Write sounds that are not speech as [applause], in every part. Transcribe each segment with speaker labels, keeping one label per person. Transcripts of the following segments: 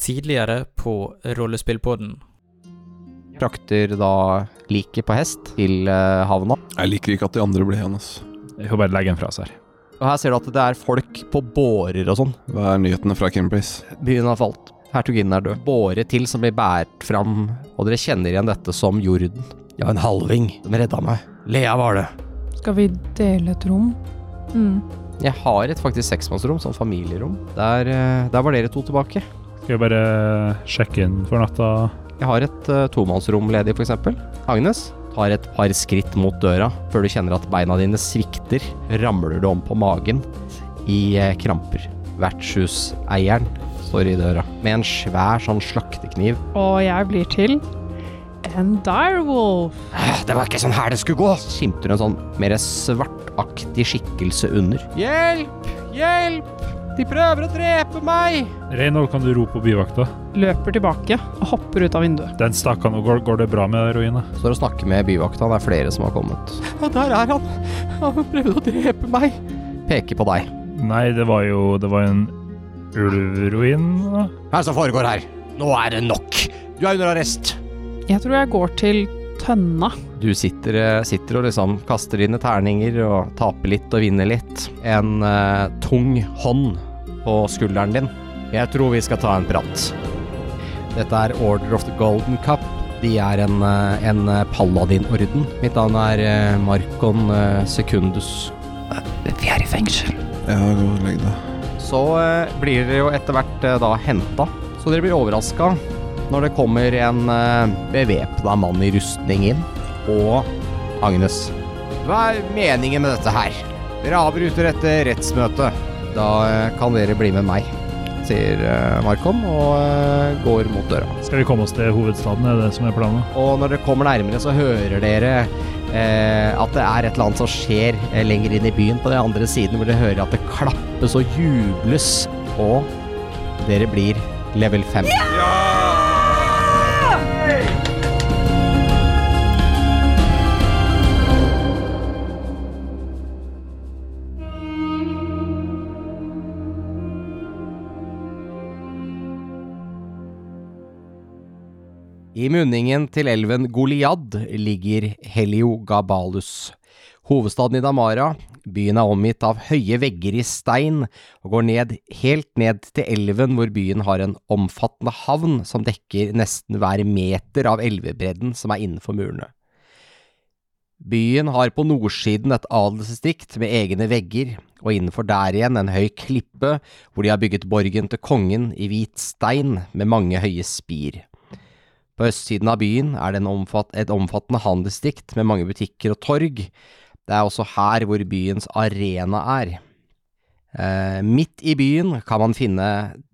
Speaker 1: tidligere på Rollespillpodden.
Speaker 2: Frakter da liket på hest til eh, havna.
Speaker 3: Jeg liker ikke at de andre ble igjen, ass.
Speaker 4: Jeg får bare legge den fra oss her.
Speaker 2: Og her ser du at det er folk på bårer og sånn.
Speaker 3: Hva er nyhetene fra Kimbris?
Speaker 2: Byen har falt. Hertuginnen er død. Båre til som blir båret fram, og dere kjenner igjen dette som jorden. Ja, en halving. De redda meg. Lea var det.
Speaker 5: Skal vi dele et rom? Mm.
Speaker 2: Jeg har et faktisk seksmannsrom, sånn familierom. Der, eh, der var dere to tilbake.
Speaker 4: Skal vi bare sjekke inn for natta?
Speaker 2: Jeg har et eh, tomannsrom ledig, f.eks. Agnes tar et par skritt mot døra før du kjenner at beina dine svikter. Ramler du om på magen i eh, kramper. Vertshuseieren står i døra med en svær sånn slaktekniv.
Speaker 5: Og jeg blir til en direwolf.
Speaker 2: «Åh, Det var ikke sånn her det skulle gå! Skimter en sånn mer svartaktig skikkelse under. Hjelp! Hjelp! De prøver å drepe meg!
Speaker 4: Reinhold, kan du rope på byvakta?
Speaker 5: Løper tilbake og hopper ut av vinduet.
Speaker 4: Den stakkaren, går, går det bra med ruina?
Speaker 2: Står og snakker med byvakta. Det er flere som har kommet. Ja, der er han! Han prøvde å drepe meg! Peker på deg.
Speaker 4: Nei, det var jo Det var en ulvruin, da.
Speaker 2: Hva er det som foregår her? Nå er det nok! Du er under arrest!
Speaker 5: Jeg tror jeg går til tønna.
Speaker 2: Du sitter, eh, sitter og liksom kaster dine terninger og taper litt og vinner litt. En eh, tung hånd på skulderen din. Jeg tror vi skal ta en prat. Dette er Order of the Golden Cup. De er en, eh, en eh, paladinorden. Mitt navn er eh, Markon eh, Secundus.
Speaker 5: Vi er i fengsel.
Speaker 3: Ja, gå og legg deg.
Speaker 2: Så eh, blir dere jo etter hvert eh, da henta. Så dere blir overraska når det kommer en eh, bevæpna mann i rustning inn. Og Agnes. Hva er meningen med dette her? Dere avbryter dette rettsmøtet. Da eh, kan dere bli med meg, sier eh, Markon og eh, går mot døra.
Speaker 4: Skal vi komme oss til hovedstaden, er det som er planen?
Speaker 2: Og når dere kommer nærmere, så hører dere eh, at det er et eller annet som skjer eh, lenger inn i byen på den andre siden, hvor dere hører at det klappes og jubles. Og dere blir level 5. I munningen til elven Goliad ligger Heliogabalus. Hovedstaden i Damara. Byen er omgitt av høye vegger i stein, og går ned, helt ned til elven hvor byen har en omfattende havn som dekker nesten hver meter av elvebredden som er innenfor murene. Byen har på nordsiden et adelsdistrikt med egne vegger, og innenfor der igjen en høy klippe hvor de har bygget borgen til kongen i hvit stein med mange høye spir. På østsiden av byen er det en omfatt, et omfattende handelsdikt med mange butikker og torg. Det er også her hvor byens arena er. Eh, midt i byen kan man finne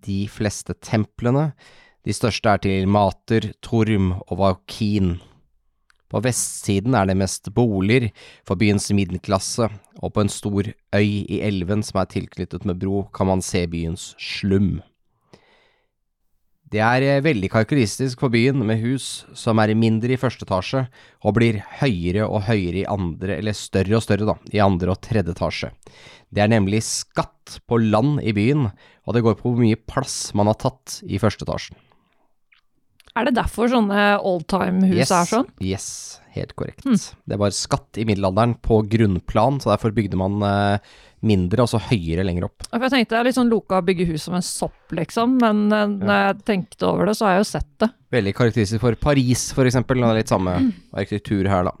Speaker 2: de fleste templene. De største er til Mater, Torm og Vaukin. På vestsiden er det mest boliger for byens middelklasse, og på en stor øy i elven som er tilknyttet med bro, kan man se byens slum. Det er eh, veldig karakteristisk for byen, med hus som er mindre i første etasje, og blir høyere og høyere i andre, eller større og større, da, i andre og tredje etasje. Det er nemlig skatt på land i byen, og det går på hvor mye plass man har tatt i første etasjen.
Speaker 6: Er det derfor sånne oldtime-hus
Speaker 2: Yes,
Speaker 6: er sånn? Hmm.
Speaker 2: Yes, helt korrekt. Det var skatt i middelalderen på grunnplan, så derfor bygde man eh, mindre, og så høyere lenger opp.
Speaker 6: For jeg tenkte det er litt sånn loka å bygge hus som en sopp, liksom. Men eh, når jeg tenkte over det, så har jeg jo sett det.
Speaker 2: Veldig karakteristisk for Paris, for eksempel. Det er litt samme
Speaker 6: Hmm.
Speaker 2: arkitektur her, da.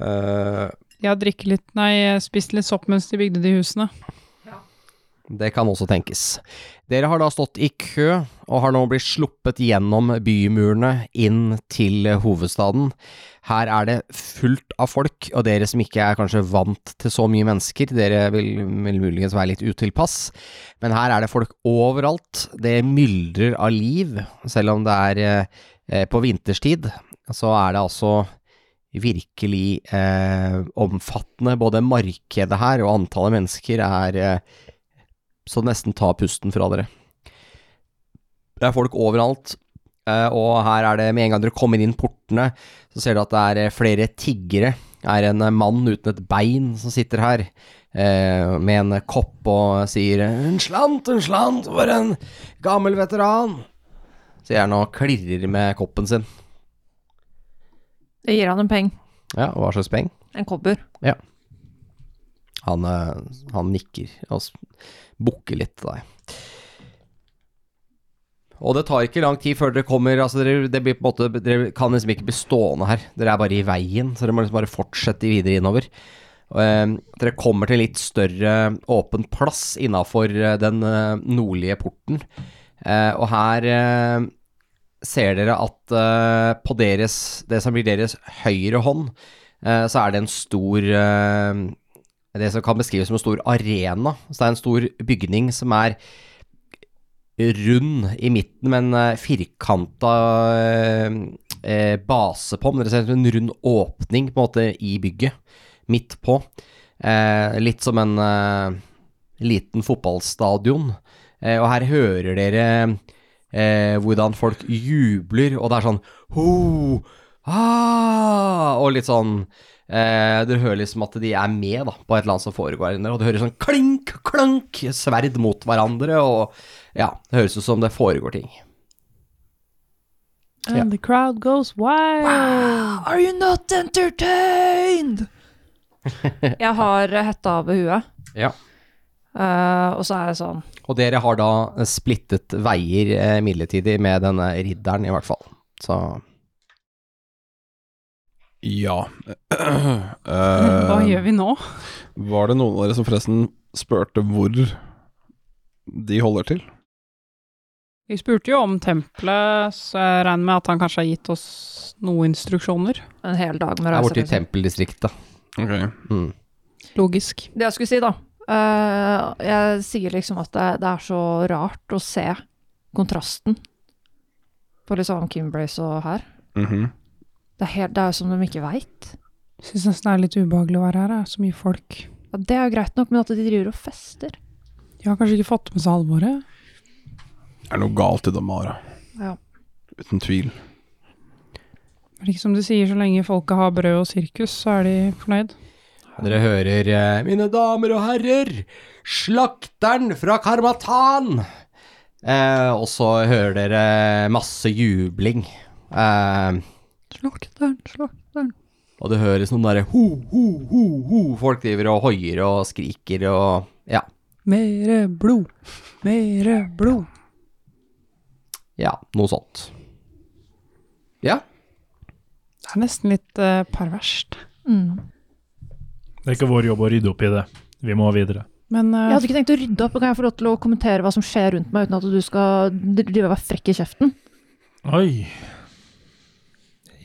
Speaker 2: Eh,
Speaker 5: Jeg har drikket litt, nei, spist litt sopp mens de bygde de husene.
Speaker 2: Det kan også tenkes. Dere har da stått i kø, og har nå blitt sluppet gjennom bymurene inn til hovedstaden. Her er det fullt av folk, og dere som ikke er kanskje vant til så mye mennesker, dere vil, vil muligens være litt utilpass, men her er det folk overalt. Det myldrer av liv, selv om det er eh, eh, på vinterstid, så er det altså virkelig eh, omfattende. Både markedet her og antallet mennesker er eh, så det nesten tar pusten fra dere. Det er folk overalt, eh, og her er det med en gang dere kommer inn portene, så ser du at det er eh, flere tiggere er en eh, mann uten et bein som sitter her eh, med en kopp og sier En slant, en slant, for en gammel veteran. Sier han og klirrer med koppen sin.
Speaker 6: Jeg gir han en peng.
Speaker 2: Ja, hva slags peng?
Speaker 6: En kobber.
Speaker 2: Han, eh, han nikker og s- bukker litt til deg. Og det tar ikke lang tid før dere kommer altså dere, det blir på en måte, dere kan liksom ikke bli stående her. Dere er bare i veien, så dere må liksom bare fortsette videre innover. Og, eh, dere kommer til en litt større åpen plass innafor den eh, nordlige porten. Eh, og her eh, ser dere at eh, på deres, det som blir deres høyre hånd, eh, så er det en stor eh, det som kan beskrives som en stor arena. Så det er en stor bygning som er rund i midten, men eh, firkanta eh, eh, base på. Men det ser ut som en rund åpning på en måte i bygget, midt på. Eh, litt som en eh, liten fotballstadion. Eh, og her hører dere eh, hvordan folk jubler, og det er sånn ho, ah, og litt sånn Eh, du hører liksom at de er med da, på et eller annet som foregår her inne, og du hører sånn klink, klank, sverd mot hverandre, og ja, det høres ut som det foregår ting.
Speaker 5: And the crowd goes wild.
Speaker 2: Ah,
Speaker 6: Are you not entertained? jeg har eh, hetta over huet,
Speaker 2: Ja.
Speaker 6: eh, og så er jeg sånn
Speaker 2: Og dere har da splittet veier eh, midlertidig med denne ridderen, i hvert fall. Så
Speaker 3: Ja.
Speaker 5: [laughs]
Speaker 3: [clears throat]
Speaker 5: Hva
Speaker 3: Eh,
Speaker 5: gjør vi nå?
Speaker 3: var det noen av dere som forresten spurte hvor de holder til?
Speaker 5: Vi spurte jo om tempelet, så jeg regner med at han kanskje har gitt oss noen instruksjoner.
Speaker 6: en hel dag
Speaker 2: jeg
Speaker 6: med
Speaker 2: er
Speaker 6: reise.
Speaker 2: borte i
Speaker 6: liksom.
Speaker 2: tempeldistriktet.
Speaker 3: Ok.
Speaker 2: Mm.
Speaker 5: Logisk.
Speaker 6: Det jeg skulle si, da. eh, jeg sier liksom at det, det er så rart å se kontrasten på liksom Kimbrace og her.
Speaker 3: Mhm.
Speaker 6: Det er, helt, det er jo som de ikke veit.
Speaker 5: Syns nesten det er litt ubehagelig å være her, det er så mye folk.
Speaker 6: Ja, det er jo greit nok, men at de driver og fester
Speaker 5: De har kanskje ikke fått med seg alvoret?
Speaker 3: Det er noe galt i Damara.
Speaker 6: Ja.
Speaker 3: Uten tvil.
Speaker 5: Men ikke som du sier, så lenge folket har brød og sirkus, så er de fornøyd.
Speaker 2: Dere hører eh, Mine damer og herrer, slakteren fra Karmatan! Eh, og så hører dere masse jubling. Eh,
Speaker 6: Slakteren, slakteren.
Speaker 2: Og det høres noen derre ho, ho, ho, ho. Folk driver og hoier og skriker og ja.
Speaker 5: Mere blod, mere blod.
Speaker 2: Ja, noe sånt. Ja.
Speaker 5: Det er nesten litt eh, perverst.
Speaker 6: Mm.
Speaker 4: Det er ikke vår jobb å rydde opp i det. Vi må videre.
Speaker 5: Men eh,
Speaker 6: Jeg hadde ikke tenkt å rydde opp, men kan jeg få lov til å kommentere hva som skjer rundt meg, uten at du skal drive og være frekk i kjeften?
Speaker 4: Oi.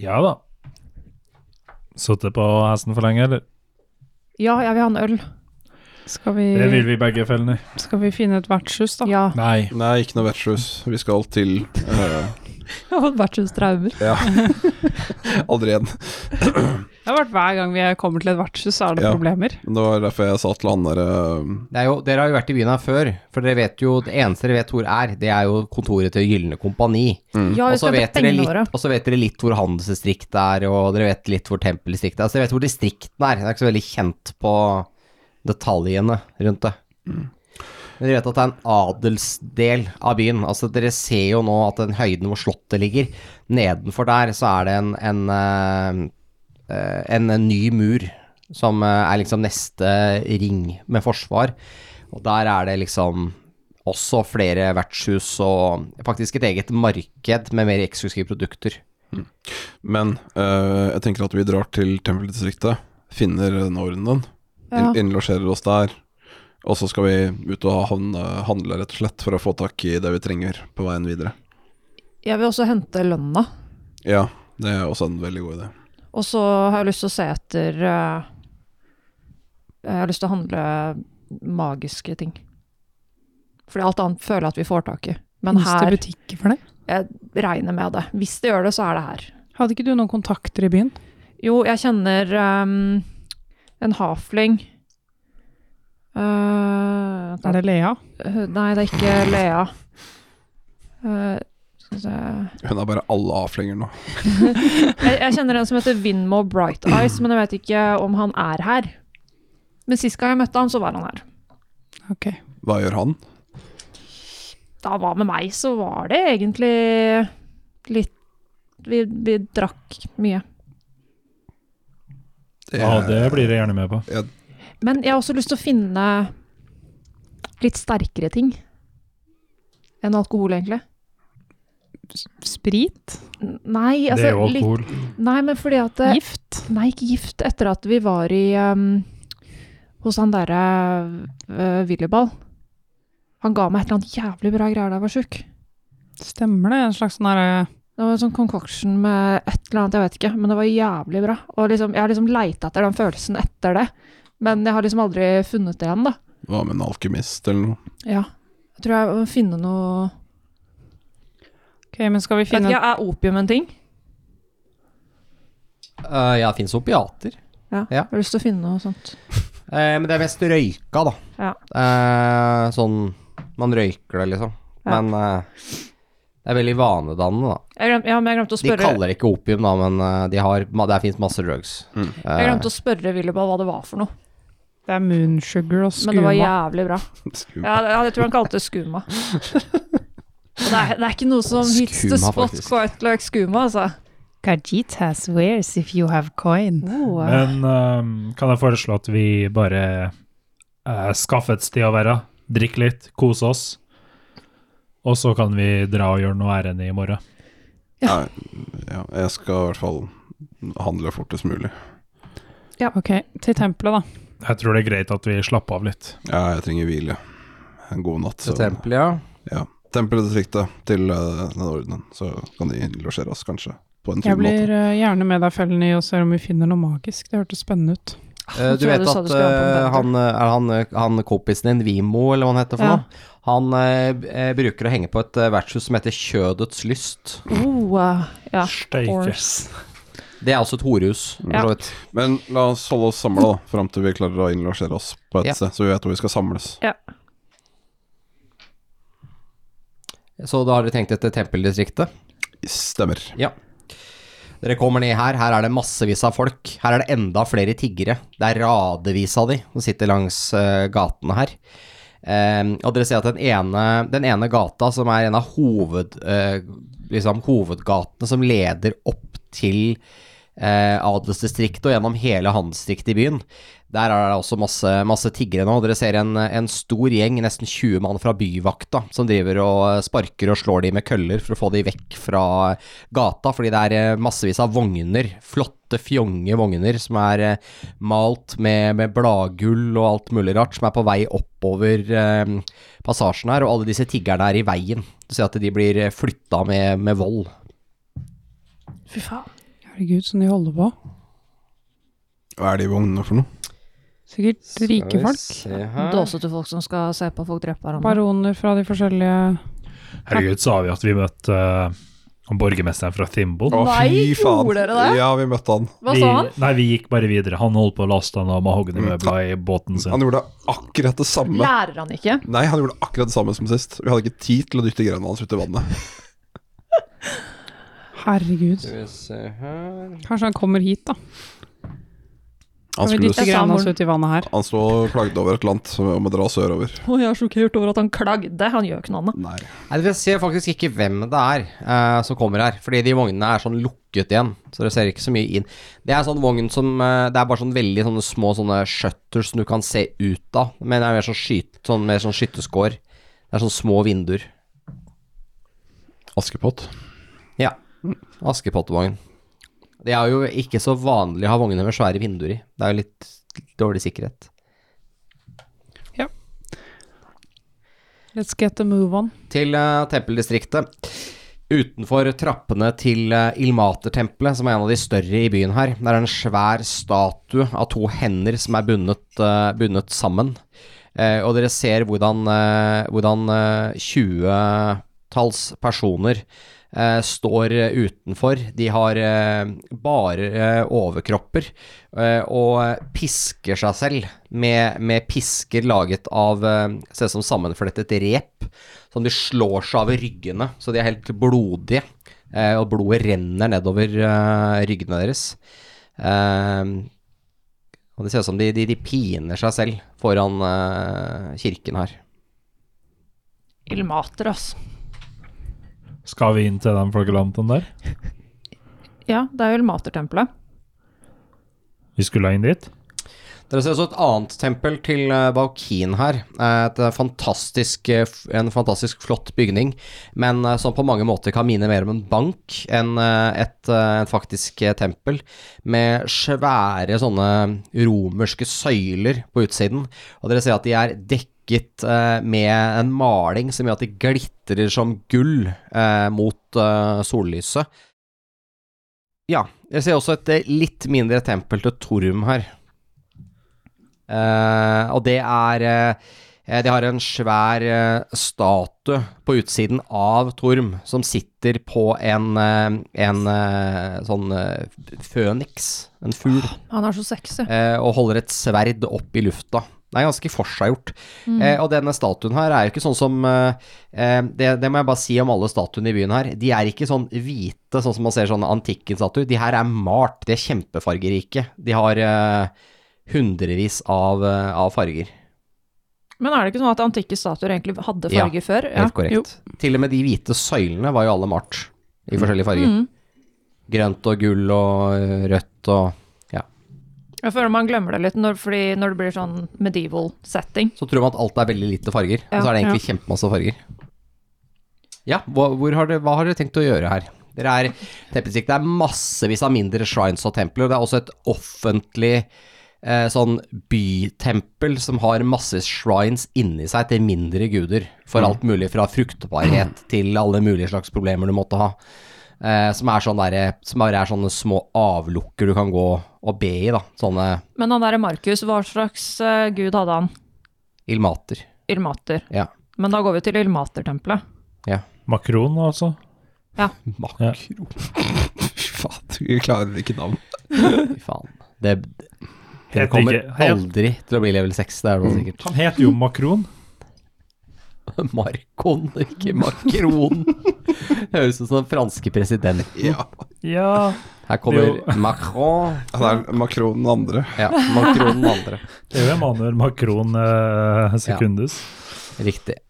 Speaker 4: Ja da. Sittet på hesten for lenge, eller?
Speaker 6: Ja, jeg vil ha en øl.
Speaker 5: skal, vi,
Speaker 4: Det vil vi begge fellene.
Speaker 5: skal vi finne et vertshus, da?
Speaker 6: Ja.
Speaker 4: Nei.
Speaker 3: Nei, ikke noe vertshus. Vi skal til eh, [laughs]
Speaker 6: Jeg har fått vertshustraumer.
Speaker 3: Ja. Aldri igjen.
Speaker 5: Det har vært hver gang vi kommer til et vertshus, så er det
Speaker 3: Ja.
Speaker 5: problemer.
Speaker 3: Det var derfor jeg sa til han eh, derre
Speaker 2: Det er jo, dere har jo vært i byen her før, for dere vet jo det eneste dere vet hvor er, det er jo kontoret til Gylne kompani.
Speaker 6: Ja,
Speaker 2: Mm. Og
Speaker 6: vi
Speaker 2: så
Speaker 6: skal
Speaker 2: vet,
Speaker 6: ta
Speaker 2: dere
Speaker 6: pengene våre.
Speaker 2: litt- og så vet dere litt hvor handelsdistriktet er, og dere vet litt hvor tempeldistriktet er. Så dere vet hvor distriktene er. Dere er ikke så veldig kjent på detaljene rundt det. Men dere vet at det er en adelsdel av byen. Altså Dere ser jo nå at den høyden hvor slottet ligger, nedenfor der så er det en, en, eh, eh, en, en ny mur som eh, er liksom neste ring med forsvar. Og der er det liksom også flere vertshus og faktisk et eget marked med mer eksklusive produkter.
Speaker 3: Men eh, jeg tenker at vi drar til tempeldistriktet, finner den ordenen,
Speaker 6: Ja.
Speaker 3: inn- innlosjerer oss der, og så skal vi ut og han- handle, rett og slett, for å få tak i det vi trenger på veien videre.
Speaker 6: Jeg vil også hente lønna.
Speaker 3: Ja, det er også en veldig god idé.
Speaker 6: Og så har jeg lyst til å se etter eh, Jeg har lyst til å handle magiske ting. Fordi alt annet føler jeg at vi får tak i. Men
Speaker 5: Finnes
Speaker 6: her
Speaker 5: det butikker for det?
Speaker 6: jeg regner med det. Hvis det gjør det, så er det her.
Speaker 5: Hadde ikke du noen kontakter i byen?
Speaker 6: Jo, jeg kjenner ehm, en hafling. Eh,
Speaker 5: Er det Lea?
Speaker 6: Eh, Nei, det er ikke Lea. Eh, Så-
Speaker 3: Hun er bare alle avflinger nå.
Speaker 6: Jeg, jeg kjenner en som heter Vinmo Bright Eyes, men jeg vet ikke om han er her. Men sist gang jeg møtte han, så var han her.
Speaker 3: Hva gjør han?
Speaker 6: Da han var med meg, så var det egentlig litt Vi, vi drakk mye.
Speaker 3: Det
Speaker 4: Ja, det blir jeg gjerne med på.
Speaker 6: Men jeg har også lyst til å finne litt sterkere ting enn alkohol, egentlig.
Speaker 5: Sprit?
Speaker 6: N- Nei,
Speaker 4: det er jo
Speaker 6: altså litt,
Speaker 4: alkohol.
Speaker 6: Nei, men fordi at det-
Speaker 5: Gift?
Speaker 6: Nei, ikke gift. Etter at vi var i ehm, Hos han derre uh, Willyball. Han ga meg et eller annet jævlig bra greier da jeg var sjuk.
Speaker 5: Stemmer det? En slags sånn herre
Speaker 6: Det var en sånn concoction med et eller annet, jeg vet ikke, men det var jævlig bra. Og liksom, jeg har liksom leita etter den følelsen etter det, men jeg har liksom aldri funnet det igjen, da.
Speaker 3: Hva med en alkymist eller noe?
Speaker 6: Ja. Jeg tror jeg må finne noe
Speaker 5: Ok, men skal vi
Speaker 6: Vet
Speaker 5: finne
Speaker 6: ikke, Er opium en ting?
Speaker 2: Eh, ja, det finnes opiater.
Speaker 6: Ja.
Speaker 2: Ja.
Speaker 6: Jeg har lyst til å finne noe sånt.
Speaker 2: Eh, men det er mest røyka, da.
Speaker 6: Ja.
Speaker 2: Eh, sånn Man røyker det, liksom.
Speaker 6: Ja.
Speaker 2: Men eh, det er veldig vanedannende, da.
Speaker 6: Jeg glemte, ja, men jeg glemte å
Speaker 2: De
Speaker 6: spørre,
Speaker 2: kaller det ikke opium, da, men eh, de har, ma- der fins masse drugs. Eh,
Speaker 6: jeg glemte å spørre Willeball hva det var for noe,
Speaker 5: Det er moonsugar og
Speaker 6: men det
Speaker 5: skuma.
Speaker 6: var jævlig bra.
Speaker 3: Skum.
Speaker 6: Ja, det- ja, jeg tror han kalte det skuma. [laughs] Og det er, det er ikke noe som hits the
Speaker 2: Skuma,
Speaker 6: spot
Speaker 2: faktisk.
Speaker 6: quite like skuma, altså.
Speaker 5: Kajitas wears if you have coin.
Speaker 6: Oh, eh,
Speaker 4: Men ehm, kan jeg foreslå at vi bare eh, skaffer et sted å være, drikke litt, kose oss, og så kan vi dra og gjøre noe ærend i morgen.
Speaker 3: Ja, jeg skal i hvert fall handle fortest mulig.
Speaker 5: Ok, til tempelet, da.
Speaker 4: Jeg tror det er greit at vi slapper av litt.
Speaker 3: Ja, jeg trenger hvile. En god natt.
Speaker 2: Til
Speaker 3: så-
Speaker 2: tempelet, ja.
Speaker 3: Ja. Tempeldistriktet til eh, den ordenen, så kan de losjere oss kanskje på en fin
Speaker 5: Jeg blir
Speaker 3: måte.
Speaker 5: eh, gjerne med deg, Felny, og ser om vi finner noe magisk. Det hørtes spennende ut.
Speaker 2: Eh,
Speaker 6: nå
Speaker 2: du
Speaker 6: tror Ah, jeg
Speaker 2: vet
Speaker 6: du sa
Speaker 2: at
Speaker 6: du skulle ha
Speaker 2: eh,
Speaker 6: på en
Speaker 2: han, eh, er han, eh, han kompisen din, Vimo, eller hva han heter for
Speaker 5: Ja.
Speaker 2: noe, han eh, b- eh, bruker å henge på et eh, vertshus som heter Kjødets lyst.
Speaker 6: Oh, eh, ja.
Speaker 4: Steike.
Speaker 2: Det er altså et horehus, for
Speaker 6: Ja.
Speaker 2: så vidt.
Speaker 3: Men la oss holde oss samla da, fram til vi klarer å innlosjere oss på et
Speaker 2: Ja.
Speaker 3: sted, så vi vet hvor vi skal samles.
Speaker 2: Så da har dere tenkt etter tempeldistriktet.
Speaker 3: Stemmer.
Speaker 2: Ja. Dere kommer ned her, her er det massevis av folk. Her er det enda flere tiggere. Det er radevis av de som sitter langs eh, gatene her. Eh, og dere ser at den ene, den ene gata, som er en av hoved, eh, liksom, hovedgatene som leder opp til eh, adelsdistriktet og gjennom hele handelsdistriktet i byen, der er det også masse, masse tiggere nå. Dere ser en, en stor gjeng, nesten 20 mann fra byvakta, som driver og eh, sparker og slår de med køller for å få de vekk fra gata, fordi det er eh, massevis av vogner, flotte, fjonge vogner som er eh, malt med, med bladgull og alt mulig rart, som er på vei oppover eh, passasjen her, og alle disse tiggerne er i veien. Du ser at de blir eh, flytta med, med vold.
Speaker 6: Fy faen.
Speaker 5: Herregud, som de holder på.
Speaker 3: Hva er de vognene for noe?
Speaker 5: Sikkert rike folk.
Speaker 6: Dåsete folk som skal se på folk drepe hverandre.
Speaker 5: Baroner fra de forskjellige
Speaker 4: Herregud, sa vi at vi møtte eh, borgermesteren fra Thimble?
Speaker 3: Å,
Speaker 6: Nei, gjorde dere det?
Speaker 3: Ja, vi møtte han.
Speaker 6: Hva
Speaker 4: vi,
Speaker 6: sa han?
Speaker 4: Nei, vi gikk bare videre. Han holdt på å laste noen mahognimøbler i båten sin.
Speaker 3: Han gjorde akkurat det samme.
Speaker 6: Lærer han ikke?
Speaker 3: Nei, han gjorde akkurat det samme som sist. Vi hadde ikke tid til å dytte greiene hans ut i vannet.
Speaker 5: Herregud. Kanskje han kommer hit, da.
Speaker 3: Han,
Speaker 5: Kan vi
Speaker 3: skulle,
Speaker 5: dytte
Speaker 6: Jeg sa
Speaker 5: greiene hans
Speaker 6: moren.
Speaker 5: ut i vannet her?
Speaker 3: han sto og klagde over et eller annet som om å dra sørover.
Speaker 6: Å, jeg er sjokkert over at han klagde. Han gjør ikke noe annet.
Speaker 3: Nei.
Speaker 2: Nei, Dere ser faktisk ikke hvem det er eh, som kommer her, fordi de vognene er sånn lukket igjen, så dere ser ikke så mye inn. Det er sånn vogn som eh, Det er bare sånn veldig sånne små sånne shutters som du kan se ut av, men det er mer sånn, skyt, sånn, mer sånn skytterskår. Det er sånn små vinduer.
Speaker 3: Askepott.
Speaker 2: Ja. Askepottvogn. Det er jo ikke så vanlig å ha vogner med svære vinduer i. Det er jo litt dårlig sikkerhet.
Speaker 5: Let's get a move on.
Speaker 2: til eh, tempeldistriktet. Utenfor trappene til eh, Ilmatertempelet, som er en av de større i byen her, der er en svær statue av to hender som er bundet, eh, bundet sammen. Eh, og dere ser hvordan, eh, hvordan eh, 20-talls personer eh, står eh, utenfor. De har eh, bare eh, overkropper eh, og eh, pisker seg selv med, med pisker laget av eh, Ser ut som sammenflettet rep som de slår seg over ryggene, så de er helt blodige. eh, Og blodet renner nedover eh, ryggene deres. Eh, Og det ser ut som de, de, de piner seg selv foran eh, kirken her.
Speaker 6: Ildmater, altså.
Speaker 4: Skal vi inn til den flagellanten der?
Speaker 6: Ja, det er jo ildmatertempelet.
Speaker 4: Vi skulle inn dit.
Speaker 2: Dere ser også et annet tempel til eh, Baukin her. Eh, Et eh, fantastisk, eh, f- en fantastisk flott bygning, men eh, som på mange måter kan mine mer om en bank enn eh, et, eh, et faktisk eh, tempel, med svære sånne romerske søyler på utsiden. Og dere ser at de er dekket eh, med en maling som gjør at de glitrer som gull eh, mot eh, sollyset. Ja, jeg ser også et eh, litt mindre tempel til Torm her. Eh, og det er eh, De har en svær eh, statue på utsiden av Torm som sitter på en, eh, en eh, sånn eh, føniks, en fugl,
Speaker 6: Han er så sexy.
Speaker 2: eh, og holder et sverd opp i lufta. Det er ganske forseggjort. Eh, og denne statuen her er jo ikke sånn som eh, eh, det, det må jeg bare si om alle statuene i byen her. De er ikke sånn hvite, sånn som man ser sånne antikken-statuer. De her er malt, de er kjempefargerike. De har eh, hundrevis av, eh, av farger.
Speaker 6: Men er det ikke sånn at antikke statuer egentlig hadde
Speaker 2: Ja,
Speaker 6: farge før?
Speaker 2: Helt korrekt. Til og med de hvite søylene var jo alle malt i forskjellige farger.
Speaker 6: Mhm.
Speaker 2: Grønt og gull og øh, rødt og
Speaker 6: Jeg føler man glemmer det litt når, fordi når det blir sånn medieval setting.
Speaker 2: Så tror man at alt er veldig lite farger, og så er det egentlig kjempemasse farger. Ja, hva, hvor har dere, hva har dere tenkt å gjøre her? Dere er tempeldistrikt, det er massevis av mindre shrines og templer, og det er også et offentlig eh, sånn bytempel som har masse shrines inni seg til mindre guder, for alt mulig fra fruktbarhet til alle mulige slags problemer du måtte ha. Eh, som, er sånn derre- som bare er sånne små avlukker du kan gå og be i, da. Sånne
Speaker 6: Men han derre Markus, hva slags eh, gud hadde han?
Speaker 2: ilmater.
Speaker 6: Ildmater.
Speaker 2: Ja.
Speaker 6: Men da går vi til ildmatertempelet.
Speaker 4: Makron, altså. Ja.
Speaker 3: Makro Fy faen, jeg klarer ikke navn.
Speaker 2: Fy faen. Det, det
Speaker 4: Helt
Speaker 2: kommer
Speaker 4: ikke- helt-
Speaker 2: aldri til å bli level 6, det er det sikkert. [laughs]
Speaker 4: Han heter jo Makron.
Speaker 2: Markon, ikke Macron. [laughs] Høres ut som den franske presidenten.
Speaker 3: Ja.
Speaker 4: Ja.
Speaker 2: Her kommer
Speaker 4: Det er
Speaker 2: [laughs] Macron.
Speaker 3: Han er Makron den andre.
Speaker 2: Ja, Macron den andre.
Speaker 4: Det er jo Emanuel Makron eh, sekundus.
Speaker 2: Riktig.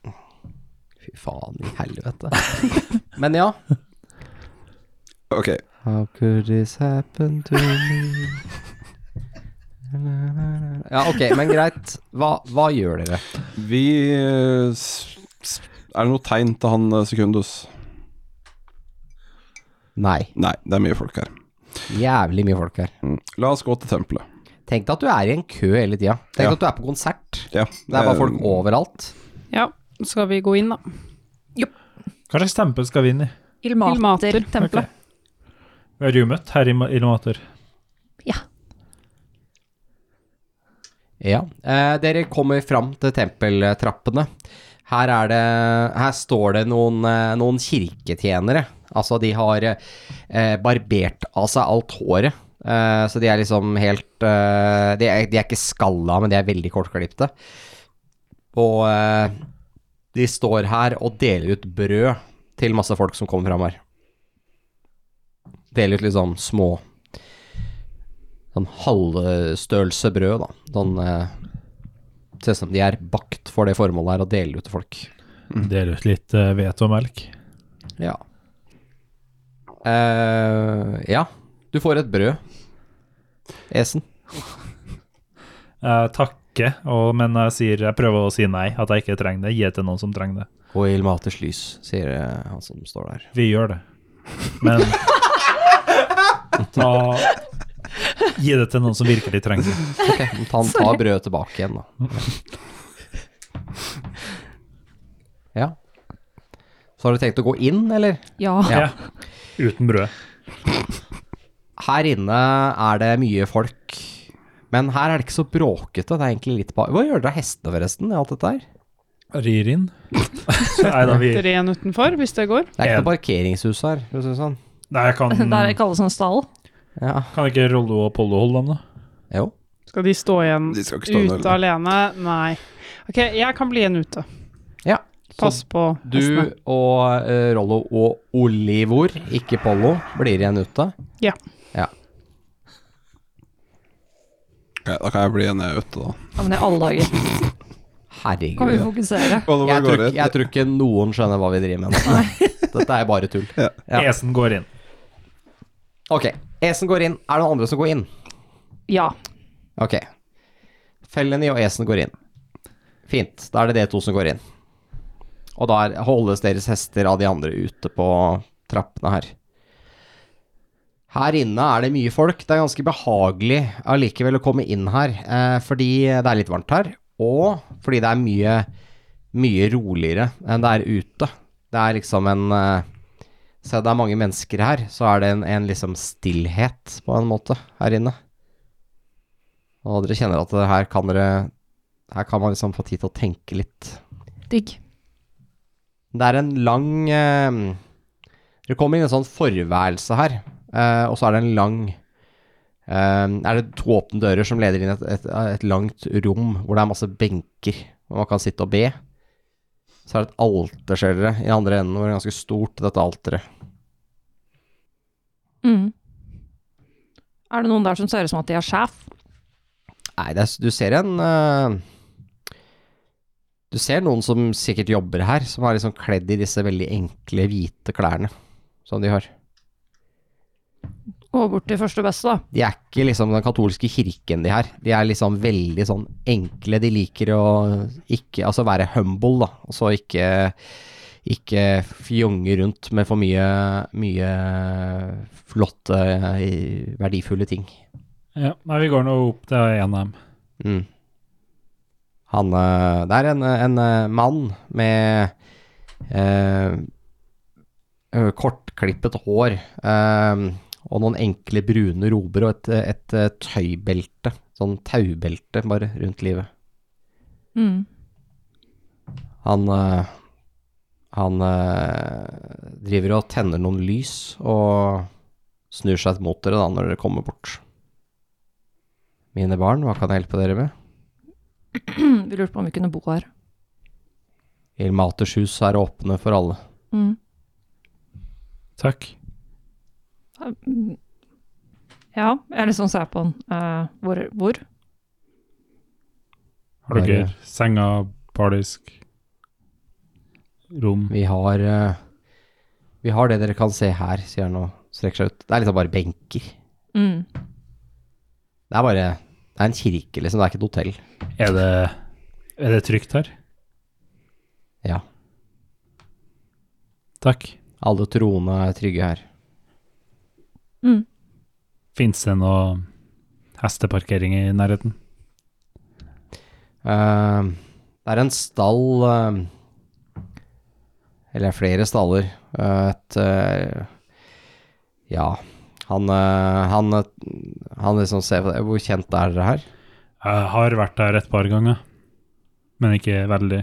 Speaker 2: Fy faen i helvete. [laughs] Men ja.
Speaker 3: Ok,
Speaker 2: How could this happen to me? Ja, ok, men greit. Hva, hva gjør dere?
Speaker 3: vi eh, s- s- Er det noe tegn til han eh, Sekundus?
Speaker 2: Nei,
Speaker 3: Nei, det er mye folk her.
Speaker 2: jævlig mye folk her.
Speaker 3: Mm. La oss gå til tempelet.
Speaker 2: Tenk deg at du er i en kø hele tida. Tenk
Speaker 3: Ja.
Speaker 2: at du er på konsert.
Speaker 3: Ja, eh,
Speaker 2: Det er bare folk
Speaker 3: Ehm.
Speaker 2: overalt.
Speaker 5: Ja, skal vi gå inn, da?
Speaker 4: Hva slags tempel skal vi inn i?
Speaker 6: Ildmatertempelet.
Speaker 4: Vi har jo møtt herr Ilmater.
Speaker 2: Ja. Eh, dere kommer fram til tempeltrappene. Her, er det, her står det noen, eh, noen kirketjenere. Altså, de har eh, barbert av seg alt håret. Eh, så de er liksom helt eh, de, er, de er ikke skalla, men de er veldig kortklipte. Og eh, de står her og deler ut brød til masse folk som kommer fram her. Deler ut liksom små sånn halvstørrelse brød, da. Sånn eh, Ser ut som de er bakt for det formålet her, og deler ut til folk. Mm.
Speaker 4: Deler ut litt eh, hvete og melk.
Speaker 2: Ja. Eh, ja. Du får et brød. Esen.
Speaker 4: Jeg takker, og, men jeg, sier, jeg prøver å si nei, at jeg ikke trenger det. Gi det til noen som trenger det.
Speaker 2: Og i maters lys, sier eh, han som står der.
Speaker 4: Vi gjør det. Men ta, Gi det til noen som virkelig trenger det.
Speaker 2: Ok, men [laughs] ta- han tar brødet tilbake igjen, [laughs] da. Ja. Så har du tenkt å gå inn, eller?
Speaker 6: Ja.
Speaker 2: Ja.
Speaker 4: Ja. Uten brød.
Speaker 2: Her inne er det mye folk, men her er det ikke så bråkete. Det er egentlig litt ba Hva gjør dere av hestene, forresten? i Alt dette her?
Speaker 4: Rir inn.
Speaker 2: [laughs]
Speaker 4: Nei da, vi
Speaker 5: Setter en utenfor, hvis det går.
Speaker 2: Det er ikke
Speaker 4: En.
Speaker 2: noe parkeringshus her, for å si det sånn.
Speaker 4: Nei, jeg kan,
Speaker 6: [laughs] Der kalles han stall.
Speaker 2: Ja.
Speaker 4: kan ikke Rollo og Pollo holde dem, da?
Speaker 2: Jo.
Speaker 5: Skal de stå igjen
Speaker 3: De skal ikke stå
Speaker 5: ute
Speaker 3: der.
Speaker 5: alene? Nei. Ok, jeg kan bli igjen ute.
Speaker 2: Ja.
Speaker 5: Pass på hestene.
Speaker 2: Du og eh, Rollo og Olivor, ikke Pollo, blir igjen ute.
Speaker 3: Ok, da kan jeg bli igjen jeg er ute, da.
Speaker 6: Ja, men i alle dager, kan vi
Speaker 2: Herregud.
Speaker 6: fokusere?
Speaker 2: Jeg tror, ikke- jeg tror ikke noen skjønner hva vi driver med nå. [laughs] Dette er bare tull. Ja.
Speaker 4: Esen går inn.
Speaker 2: Ok, Esen går inn. Er det noen andre som går inn?
Speaker 6: Ja.
Speaker 2: Ok. Felleny og Esen går inn. Fint. Da er det dere to som går inn. Og da er- holdes deres hester av de andre ute på trappene her. Her inne er det mye folk. Det er ganske behagelig allikevel å komme inn her, eh, fordi det er litt varmt her, og fordi det er mye, mye roligere enn det er ute. Det er liksom en eh, Se, det er mange mennesker her, så er det en, en liksom stillhet, på en måte, her inne. Og dere kjenner at det her kan dere Her kan man liksom få tid til å tenke litt.
Speaker 6: Digg.
Speaker 2: Det er en lang eh, Dere kommer inn i en sånn forværelse her, eh, og så er det en lang eh, Er det to åpne dører som leder inn i et, et, et langt rom hvor det er masse benker, hvor man kan sitte og be. Så er det et alter, ser dere, i andre enden, hvor det er ganske stort, dette alteret.
Speaker 6: Mm. Er det noen der som ser ut som at de er sjef?
Speaker 2: Nei, det er, du ser en eh, Du ser noen som sikkert jobber her, som er liksom kledd i disse veldig enkle, hvite klærne som de har.
Speaker 6: Gå bort til første beste, da.
Speaker 2: De er ikke liksom den katolske kirken, de her. De er liksom veldig sånn enkle. De liker å ikke Altså være humble, da. Altså ikke ikke fjonge rundt med for mye, mye flotte, eh, verdifulle ting.
Speaker 4: Ja, nei, vi går nå opp til E en av dem.
Speaker 2: Mm. Han eh, Det er en, en eh, mann med eh, eh, kortklippet hår eh, og noen enkle brune rober og et, eh, et eh, tøybelte, sånn taubelte bare rundt livet.
Speaker 6: Mm.
Speaker 2: Han eh, Han eh, driver og tenner noen lys og snur seg mot dere da når dere kommer bort. Mine barn, hva kan jeg hjelpe dere med?
Speaker 6: [clears throat] Vi lurte på om vi kunne bo her.
Speaker 2: Ilmaters hus er åpne for alle.
Speaker 6: Mm.
Speaker 4: Takk.
Speaker 6: Ja, jeg liksom ser på han. Eh, hvor, hvor?
Speaker 4: Har dere
Speaker 2: Bare-
Speaker 4: senga, bardisk, rom?
Speaker 2: Vi har eh, Vi har det dere kan se her, sier han og strekker seg ut. Det er liksom bare benker.
Speaker 6: Mm.
Speaker 2: Det er bare Det er en kirke, liksom. Det er ikke et hotell.
Speaker 4: Er det, er det trygt her?
Speaker 2: Ja.
Speaker 4: Takk.
Speaker 2: Alle troende er trygge her.
Speaker 6: Mm.
Speaker 4: Fins det noe hesteparkering i nærheten?
Speaker 2: Eh, det er en stall eh, Eller flere staller. Eh, et eh, Ja. Han, eh, han, eh, han liksom ser på det. Hvor kjent er dere her?
Speaker 4: Jeg har vært der et par ganger, men ikke veldig.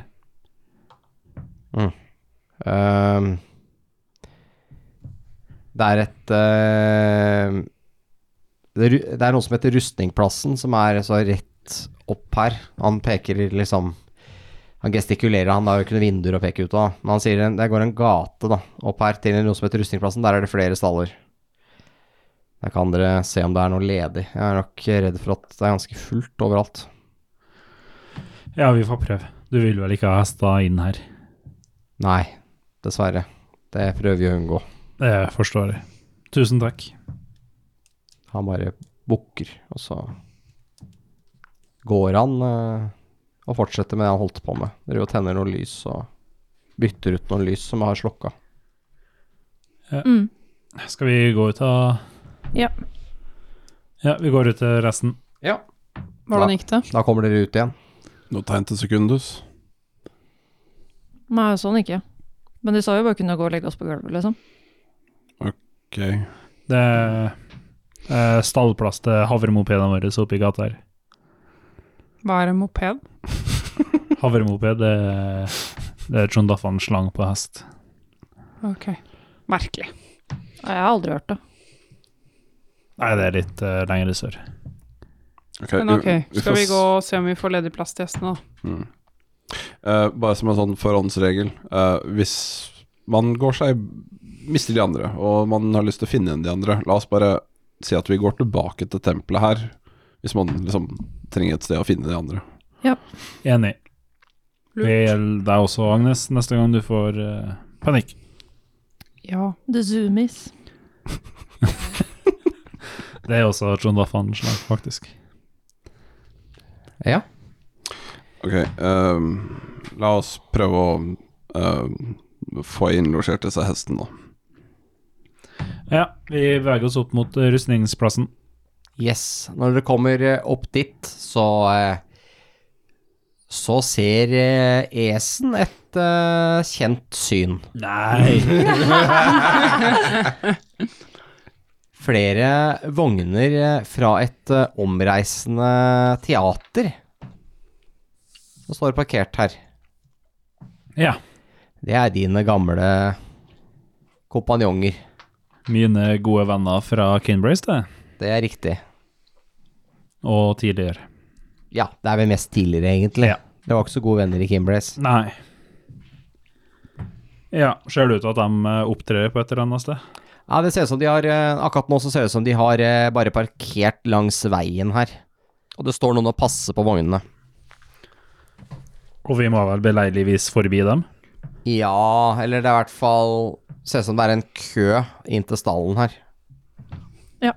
Speaker 2: Ehm, det er et eh, det, er ru- det er noe som heter Rustningplassen, som er altså rett opp her. Han peker i liksom Han gestikulerer, han har jo ikke noen vinduer å peke ut av. Men han sier en- det går en gate da, opp her til noe som heter Rustningplassen. Der er det flere staller. Der kan dere se om det er noe ledig. Jeg er nok redd for at det er ganske fullt overalt.
Speaker 4: Ja, vi får prøve. Du vil vel ikke ha hester inn her?
Speaker 2: Nei, dessverre. Det prøver vi å unngå.
Speaker 4: Det forstår jeg. Tusen takk.
Speaker 2: Han bare bukker, og så går han eh, og fortsetter med det han holdt på med. Driver og tenner noen lys og bytter ut noen lys som har slokka.
Speaker 6: Mm.
Speaker 4: Skal vi gå ut av
Speaker 6: Ja.
Speaker 4: Ja, vi går ut til resten.
Speaker 2: Ja.
Speaker 5: Hvordan gikk det?
Speaker 2: Da kommer dere ut igjen.
Speaker 3: Noe tegn til sekundus?
Speaker 6: Nei, sånn ikke. Men de sa jo bare kunne gå og legge oss på gulvet, liksom.
Speaker 3: Ok.
Speaker 4: Det er eh, stallplass til havremopedene våre oppe i gata her.
Speaker 5: Hva er en moped?
Speaker 4: Havremoped det er, det er John Daffan slang på hest.
Speaker 5: Merkelig.
Speaker 6: Nei, Jeg har aldri hørt det.
Speaker 4: Nei, det er litt eh, lenger sør.
Speaker 3: Ok,
Speaker 5: Men ok,
Speaker 3: vi-
Speaker 5: skal vi
Speaker 3: får s-
Speaker 5: gå og se om vi får ledig plass til gjestene, da?
Speaker 3: Mm. Eh, bare som en sånn forhåndsregel. eh, hvis man går seg Mister de andre, og man har lyst til å finne igjen de andre, la oss bare si at vi går tilbake til tempelet her, hvis man liksom trenger et sted å finne de andre.
Speaker 4: Enig.
Speaker 5: Lurt.
Speaker 4: Det gjelder deg også, Agnes, neste gang du får eh, panikk.
Speaker 5: Ja.
Speaker 6: The zoomies.
Speaker 4: Det er også John Daffan-slag, faktisk.
Speaker 2: Ja.
Speaker 3: Ok, eh, la oss prøve å eh, få innlosjert disse hestene, da.
Speaker 4: Ja, vi beveger oss opp mot eh, rustningsplassen.
Speaker 2: Yes. Når dere kommer eh, opp dit, så eh, Så ser eh, Esen et eh, kjent syn.
Speaker 4: Nei!
Speaker 2: Flere vogner eh, fra et eh, omreisende teater som står parkert her.
Speaker 4: Ja.
Speaker 2: Det er dine gamle kompanjonger.
Speaker 4: Mine gode venner fra Kinbrace, det.
Speaker 2: Det er riktig.
Speaker 4: Og tidligere.
Speaker 2: Ja, det er vel mest tidligere, egentlig.
Speaker 4: Ja.
Speaker 2: Det var ikke så gode venner i Kimbrace.
Speaker 4: Nei. Ja, ser det ut til at de eh, opptrer på et eller annet sted?
Speaker 2: Ja, det ser ut som de har eh, Akkurat nå så ser det ut som de har eh, bare parkert langs veien her. Og det står noen og passer på vognene.
Speaker 4: Og vi må vel beleiligvis forbi dem?
Speaker 2: Ja, eller det er i hvert fall Ser ut som det er en kø inn til stallen her.
Speaker 5: Der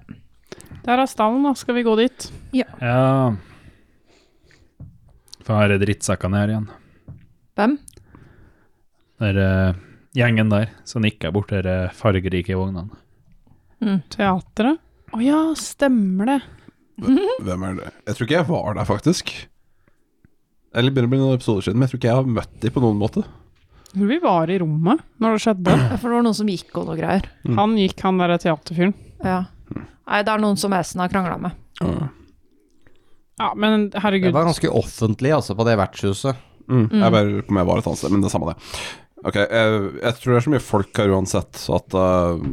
Speaker 5: er stallen, da. Skal vi gå dit?
Speaker 4: Ja. Faen, her er drittsekkene her igjen.
Speaker 6: Hvem?
Speaker 4: Der eh, gjengen der som nikker bort de eh, fargerike vognene.
Speaker 5: Teatret? Å ja, stemmer det.
Speaker 3: Hvem er det? Jeg tror ikke jeg var der, faktisk. Eller begynner å bli noen episoder siden, men jeg tror ikke jeg har møtt de på noen måte.
Speaker 5: Jeg tror vi var i rommet når det skjedde.
Speaker 6: Ja, For det var noen som gikk og noe greier.
Speaker 5: Han gikk, han derre teaterfyren.
Speaker 6: Ja. Nei, det er noen som Esen har krangla med.
Speaker 3: Mm.
Speaker 5: Ja, men
Speaker 2: Det
Speaker 5: herregud.
Speaker 2: var ganske offentlig, altså, på det vertshuset.
Speaker 3: Mm. Jeg bare lurer på om jeg var et annet sted, men det er samme det. Ok, jeg, jeg tror det er så mye folk her uansett, så at eh,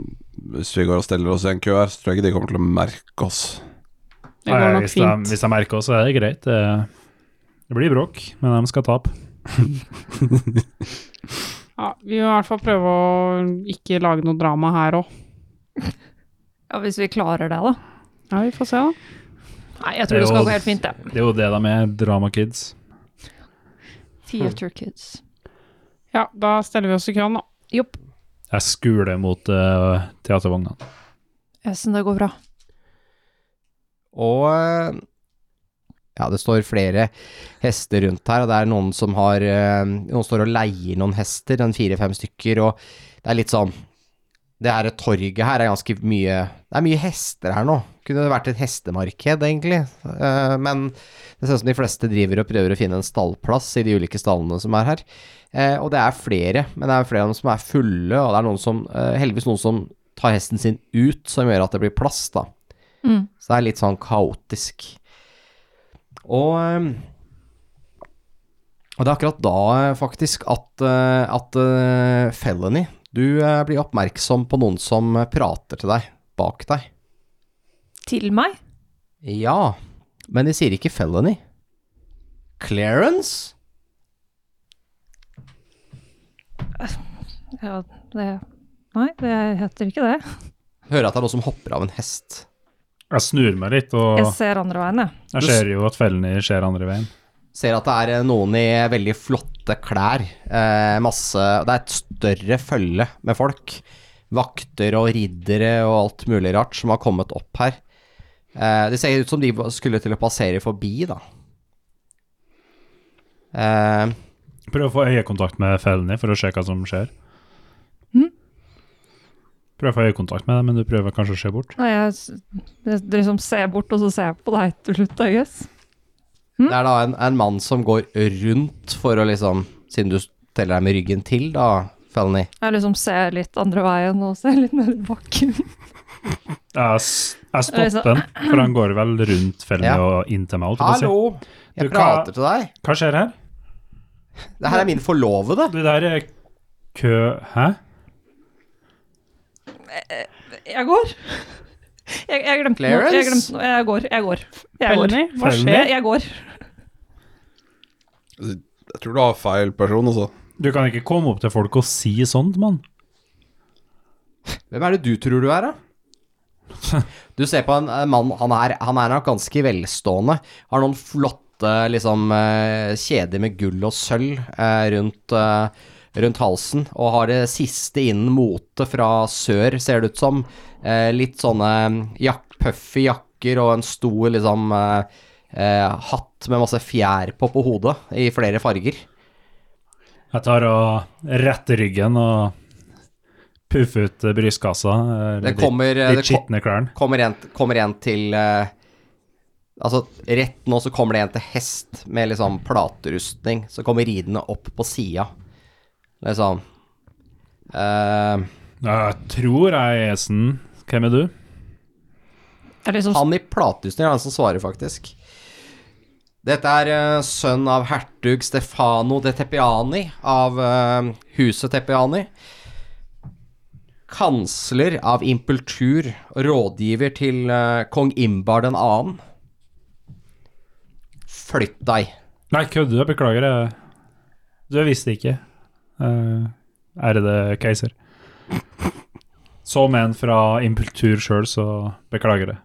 Speaker 3: hvis vi går og steller oss i en kø her, så tror jeg ikke de kommer til å merke oss.
Speaker 5: Det går nok
Speaker 4: hvis, de,
Speaker 5: fint.
Speaker 4: hvis de merker oss, så er det greit. Det, det blir bråk, men de skal tape.
Speaker 5: Ja, vi må i hvert fall prøve å ikke lage noe drama her òg.
Speaker 6: Ja, Hvis vi klarer det, da.
Speaker 5: Ja, vi får se, da.
Speaker 6: Nei, jeg tror det skal gå helt fint, det.
Speaker 4: Det er jo det de er, drama kids.
Speaker 6: Theater kids.
Speaker 5: Ja, da steller vi oss i køen, da.
Speaker 6: Jopp.
Speaker 4: Jeg skuler mot eh, teatervognene.
Speaker 6: Esen, det går bra.
Speaker 2: Og eh, ja, det står flere hester rundt her, og det er noen som har eh, Noen står og leier noen hester, en fire-fem stykker, og det er litt sånn Det her torget her er ganske mye Det er mye hester her nå. Kunne det vært et hestemarked, egentlig? Eh, men det ser ut som de fleste driver og prøver å finne en stallplass i de ulike stallene som er her. Eh, og det er flere, men det er flere av dem som er fulle, og det er noen som eh, Heldigvis noen som tar hesten sin ut, som gjør at det blir plass, da. Så det er litt sånn kaotisk. Og, eh, og det er akkurat da eh, faktisk at, eh, at eh, Felony, du eh, blir oppmerksom på noen som eh, prater til deg bak deg.
Speaker 6: Til meg?
Speaker 2: Ja, men de sier ikke Felony. Clarence?
Speaker 6: Ja, det Nei, det heter ikke det.
Speaker 2: Hører at det er noen som hopper av en hest.
Speaker 4: Jeg snur meg litt, og
Speaker 6: Jeg ser andre veien, jeg.
Speaker 4: jeg ser jo at fellene skjer andre veien.
Speaker 2: Ser at det er eh, noen i veldig flotte klær. Eh, masse Det er et større følge med folk. Vakter og riddere og alt mulig rart som har kommet opp her. Eh, det ser ut som de skulle til å passere forbi, da. Eh,
Speaker 4: Prøv å få øyekontakt med fellene for å se hva som skjer. Prøv å få øyekontakt med dem, men du prøver kanskje å se bort.
Speaker 6: Nei, jeg, s- jeg liksom ser bort, og så ser jeg på deg til slutt, I guess.
Speaker 2: Det er da en, en mann som går rundt for å liksom Siden du teller deg med ryggen til, da, Felny.
Speaker 6: Jeg liksom ser litt andre veien og ser litt ned i bakken.
Speaker 4: Jeg, s- jeg
Speaker 6: Eller så-
Speaker 4: stopper den, for han går vel rundt fellene
Speaker 2: Ja.
Speaker 4: og inn til meg. holdt jeg på å
Speaker 2: Hallo! Jeg
Speaker 4: Du, hva-
Speaker 2: prater til deg.
Speaker 4: si. Hva skjer her?
Speaker 2: Det her er min forlovede.
Speaker 4: Det der er kø Hæ?
Speaker 6: Jeg går. Jeg, jeg glemte noe. Jeg,
Speaker 2: Clarence?
Speaker 6: glemte noe. jeg går. Jeg går. Jeg går.
Speaker 5: Felny, hva
Speaker 4: Felny?
Speaker 5: skjer?
Speaker 6: Jeg går.
Speaker 3: Jeg tror du har feil person, altså.
Speaker 4: Du kan ikke komme opp til folk og si sånt, mann.
Speaker 2: Hvem er det du tror du er, da? Du ser på en eh, mann, han er, han er nok ganske velstående. Har noen flotte liksom, eh, kjeder med gull og sølv eh, rundt, eh, rundt halsen. Og har det siste innen mote fra sør, ser det ut som. Eh, Litt sånne mm, jak puffy jakker og en stor liksom, eh, eh, hatt med masse fjær på på hodet i flere farger.
Speaker 4: Jeg tar og retter ryggen og puffer ut eh, brystkassa. eh,
Speaker 2: Det
Speaker 4: de-
Speaker 2: kommer, eh,
Speaker 4: De
Speaker 2: det kom-
Speaker 4: skitne klærne.
Speaker 2: kommer en, kommer en til eh, Altså, rett nå så kommer det en til hest med liksom platerustning, som kommer ridende opp på sida. Liksom eh,
Speaker 4: Jeg tror jeg er Esen. Hvem er du?
Speaker 6: Jeg liksom
Speaker 2: Han i platerustning er han som svarer, faktisk. Dette er eh, sønn av hertug Stefano de Tepiani av eh, huset Tepiani. Kansler av impultur, rådgiver til eh, kong Imbar den annen. Flytt deg.
Speaker 4: Nei, kødder du? Jeg Beklager. Jeg. Du, jeg visste ikke. Uh, ærede keiser. Som en fra Impultur sjøl, så beklager det.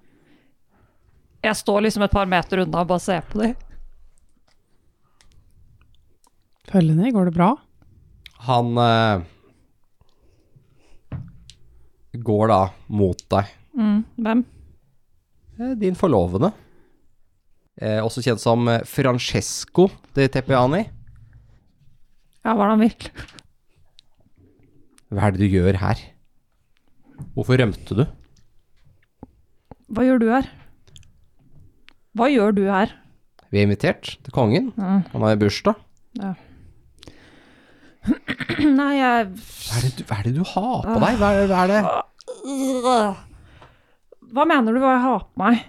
Speaker 6: Jeg står liksom et par meter unna og bare ser på dem.
Speaker 5: Følg ned, går det bra?
Speaker 2: Han eh, går da mot deg.
Speaker 6: Mm, hvem?
Speaker 2: Eh, Din forlovede. Eh, også kjent som eh, Francesco de Tepiani.
Speaker 6: Ja, hva er det han vil?
Speaker 2: Hva er det du gjør her? Hvorfor rømte du?
Speaker 6: Hva gjør du her? Hva gjør du her? [clears throat]
Speaker 2: Vi er invitert til kongen.
Speaker 6: Mm.
Speaker 2: Han har bursdag.
Speaker 6: Nei, jeg
Speaker 2: Hva er det du, hva er det du har
Speaker 6: Ah.
Speaker 2: på deg? Hva er det, hva er det?
Speaker 6: Hva mener du hva jeg har på meg?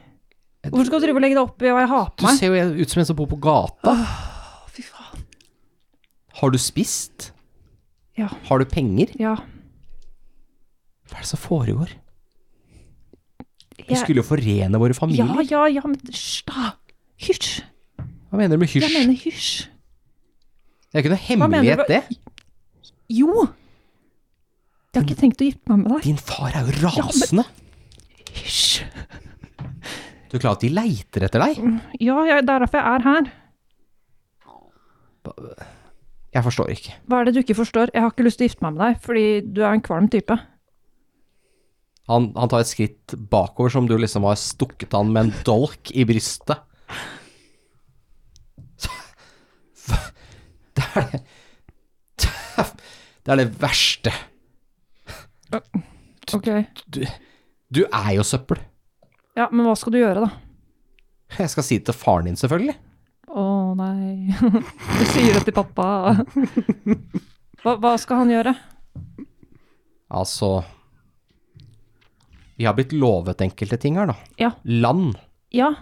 Speaker 6: Hvorfor Eh, skal du drive og legge deg opp i hva jeg har
Speaker 2: Du
Speaker 6: på meg?
Speaker 2: ser jo ut som en som bor på gata.
Speaker 6: Å, fy faen.
Speaker 2: Har du spist?
Speaker 6: Ja.
Speaker 2: Har du penger?
Speaker 6: Ja.
Speaker 2: Hva er det som foregår? Vi
Speaker 6: Jeg-
Speaker 2: skulle jo forene våre
Speaker 6: Ja,
Speaker 2: familier.
Speaker 6: ja, ja, men hysj, da. Hysj.
Speaker 2: Hva mener du med
Speaker 6: Jeg
Speaker 2: hysj?
Speaker 6: mener hysj.
Speaker 2: Det er ikke noe
Speaker 6: Hva mener
Speaker 2: hemmelighet,
Speaker 6: du?
Speaker 2: det.
Speaker 6: Jo. Jeg har ikke tenkt å gifte meg med deg.
Speaker 2: Din far er jo rasende.
Speaker 6: Hysj.
Speaker 2: Du er klar over at de leiter etter deg?
Speaker 6: Ja, ja, det er derfor jeg er her.
Speaker 2: Jeg forstår ikke.
Speaker 6: Hva er det du ikke forstår? Jeg har ikke lyst til å gifte meg med deg, fordi du er en kvalm type.
Speaker 2: Han, han tar et skritt bakover som du liksom har stukket han med en dolk i brystet. Det er det Det er det verste.
Speaker 6: Ok.
Speaker 2: Du er jo søppel.
Speaker 6: Ja, men hva skal du gjøre, da?
Speaker 2: Jeg skal si det til faren din, selvfølgelig.
Speaker 6: Å nei. [laughs] Du sier det til [laughs] pappa. Hva, hva skal han gjøre?
Speaker 2: Altså Vi har blitt lovet enkelte ting her, da.
Speaker 6: Ja.
Speaker 2: Land.
Speaker 6: Ja,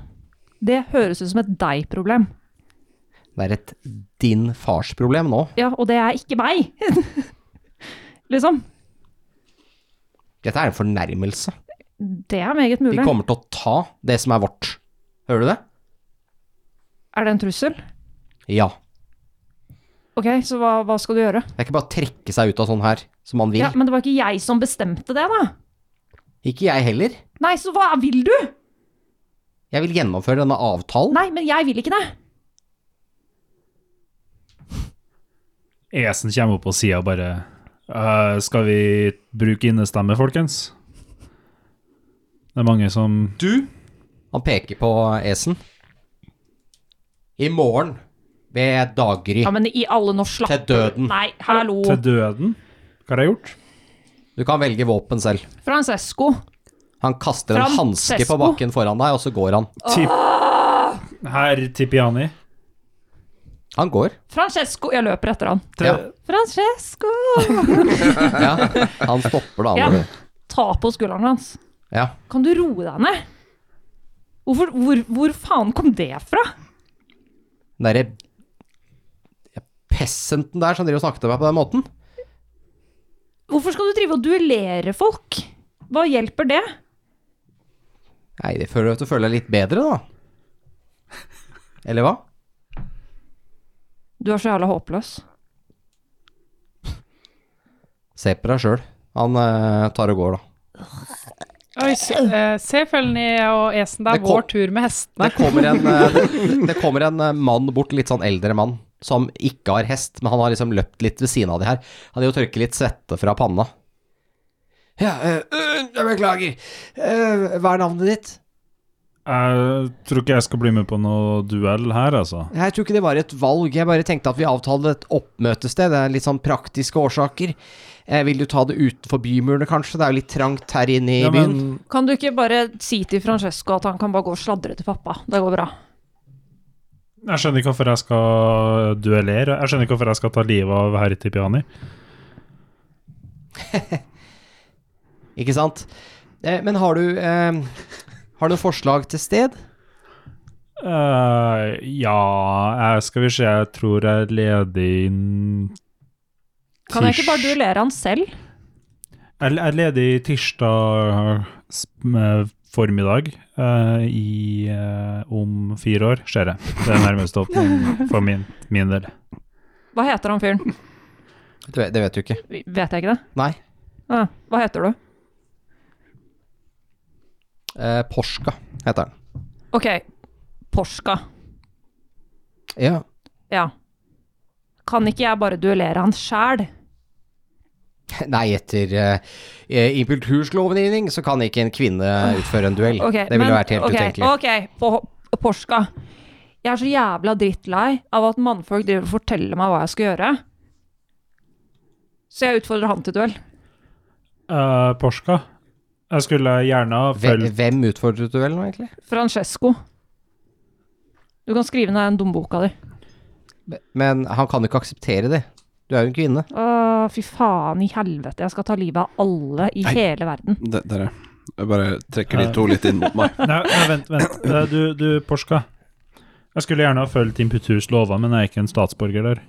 Speaker 6: det høres ut som et deg-problem.
Speaker 2: Det er et din fars problem nå.
Speaker 6: Ja, og det er ikke meg! [laughs] liksom.
Speaker 2: Dette er en fornærmelse.
Speaker 6: Det er meget mulig.
Speaker 2: Vi kommer til å ta det som er vårt. Hører du det?
Speaker 6: Er det en trussel?
Speaker 2: Ja.
Speaker 6: Ok, så hva, hva skal du gjøre?
Speaker 2: Det er ikke bare å trekke seg ut av sånn her, som man vil.
Speaker 6: Ja, Men det var ikke jeg som bestemte det, da!
Speaker 2: Ikke jeg heller.
Speaker 6: Nei, så hva vil du?
Speaker 2: Jeg vil gjennomføre denne avtalen.
Speaker 6: Nei, men jeg vil ikke det!
Speaker 4: Esen kommer opp på sida og bare «Eh, Skal vi bruke innestemme, folkens? Det er mange som
Speaker 2: Du? Han peker på Esen. I morgen, ved daggry,
Speaker 6: Ja, men i alle nå, slapp
Speaker 2: til døden.
Speaker 6: Nei, hallo!
Speaker 4: Til døden? Hva har jeg gjort?
Speaker 2: Du kan velge våpen selv.
Speaker 6: Francesco.
Speaker 2: Han kaster en
Speaker 6: Francesco.
Speaker 2: hanske på bakken foran deg, og så går han.
Speaker 4: Tip Herr Tipiani.
Speaker 2: Han går.
Speaker 6: Francesco! Jeg løper etter han.
Speaker 4: Til,
Speaker 2: Ja.
Speaker 6: Francesco!
Speaker 2: Ja. Han stopper det andre.
Speaker 6: Ta på skulderen hans.
Speaker 2: Ja.
Speaker 6: Kan du roe deg ned? Hvorfor, hvor, hvor faen kom det fra?
Speaker 2: Den derre pessenten der som driver og snakker til meg på den måten.
Speaker 6: Hvorfor skal du drive og duellere folk? Hva hjelper det?
Speaker 2: Nei, det føler du føler deg litt bedre, da. Eller hva?
Speaker 6: Du er så jævla håpløs.
Speaker 2: Se på deg sjøl. Han eh, tar og går, da.
Speaker 5: Oi, se, eh, se ned og Esen, det er
Speaker 2: Det kom-
Speaker 5: vår tur med hestene.
Speaker 2: Det kommer en, eh, det- det kommer en eh, mann bort, litt sånn eldre mann, som ikke har hest, men han har liksom løpt litt ved siden av de her. Han er jo tørket litt svette fra panna. Ja, eh, øh, jeg beklager. Eh, hva er navnet ditt?
Speaker 4: Jeg tror ikke jeg skal bli med på noe duell her, altså.
Speaker 2: Jeg tror ikke det var et valg, jeg bare tenkte at vi avtalte et oppmøtested. Det er litt sånn praktiske årsaker. Eh, vil du ta det utenfor bymurene, kanskje? Det er jo litt trangt her inne i
Speaker 4: Ja,
Speaker 2: byen.
Speaker 4: men
Speaker 6: Kan du ikke bare si til Francesco at han kan bare gå og sladre til pappa? Det går bra.
Speaker 4: jeg skjønner ikke hvorfor jeg skal duellere. Jeg skjønner ikke hvorfor jeg skal ta livet av herr Tipiani.
Speaker 2: Ikke sant? Eh, men har du eh, Har du noen forslag til sted?
Speaker 4: Eh, ja, jeg skal vi se, jeg tror jeg er ledig inn
Speaker 6: Kan jeg ikke bare duellere han selv?
Speaker 4: Jeg jeg er ledig tirsdag sp- med formiddag eh, i, eh, om fire år, ser jeg. Det er nærmeste
Speaker 6: [laughs]
Speaker 4: åpning for min, min del.
Speaker 6: Hva heter han fyren?
Speaker 2: Det, vet- det vet du ikke.
Speaker 6: Vet jeg ikke det?
Speaker 2: Nei.
Speaker 6: Ah, hva heter du?
Speaker 2: Eh, Porska heter den.
Speaker 6: Ok, Porska.
Speaker 2: Ja. [laughs]
Speaker 6: Ja. Kan ikke jeg bare duellere han sjæl?
Speaker 2: Nei, etter eh, impulturslovgivning så kan ikke en kvinne utføre en duell.
Speaker 6: Ok,
Speaker 2: det ville
Speaker 6: men-
Speaker 2: vært helt
Speaker 6: ok,
Speaker 2: utenkelig.
Speaker 6: Ok, på, Porska. Jeg er så jævla drittlei av at mannfolk driver og forteller meg hva jeg skal gjøre. Så jeg utfordrer han til duell.
Speaker 4: Eh, Porska, jeg skulle gjerne ha
Speaker 2: Hvem,
Speaker 4: fulgt
Speaker 2: hvem utfordret duellen nå, egentlig?
Speaker 6: Francesco. Du kan skrive ned den dumboka di.
Speaker 2: Men han kan jo ikke akseptere det. Du er jo en kvinne.
Speaker 6: Å, fy faen i helvete, jeg skal ta livet av alle i
Speaker 3: Nei.
Speaker 6: hele verden.
Speaker 3: De- Dere, jeg bare trekker de to litt inn mot
Speaker 4: [laughs]
Speaker 3: meg.
Speaker 4: Nei, nei, vent, vent. Eh, Du, du Porska. Jeg skulle gjerne ha fulgt Imputurs lover, men jeg er ikke en statsborger der.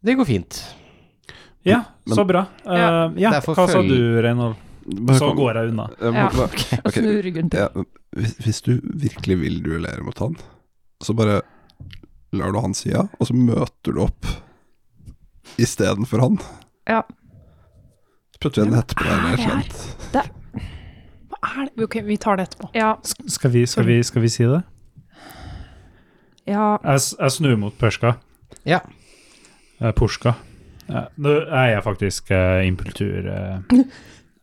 Speaker 2: Det går fint.
Speaker 4: Ja,
Speaker 3: Men-
Speaker 4: så bra. Eh,
Speaker 6: Ja,
Speaker 4: ja,
Speaker 2: derfor
Speaker 4: hva sa
Speaker 2: følg-
Speaker 4: du, Reinhold? Så går jeg unna.
Speaker 3: Eh,
Speaker 6: Ja.
Speaker 3: hva-
Speaker 6: Jeg
Speaker 3: ok,
Speaker 6: snur ryggen til.
Speaker 3: ja, hvis, hvis du virkelig vil duellere mot han, så bare lar du han si ja, og så møter du opp istedenfor han.
Speaker 6: Ja.
Speaker 3: Så putter vi en hette på deg eller et
Speaker 6: det
Speaker 3: eller annet.
Speaker 5: Hva er det? Ok, vi tar det etterpå.
Speaker 6: Ja,
Speaker 4: Sk- Skal vi, skal vi, skal vi si det?
Speaker 6: ja.
Speaker 4: Jeg, s- jeg snur mot Porska.
Speaker 2: Ja.
Speaker 4: Eh, Porska. Eh, Nå er jeg faktisk uh, impultur eh,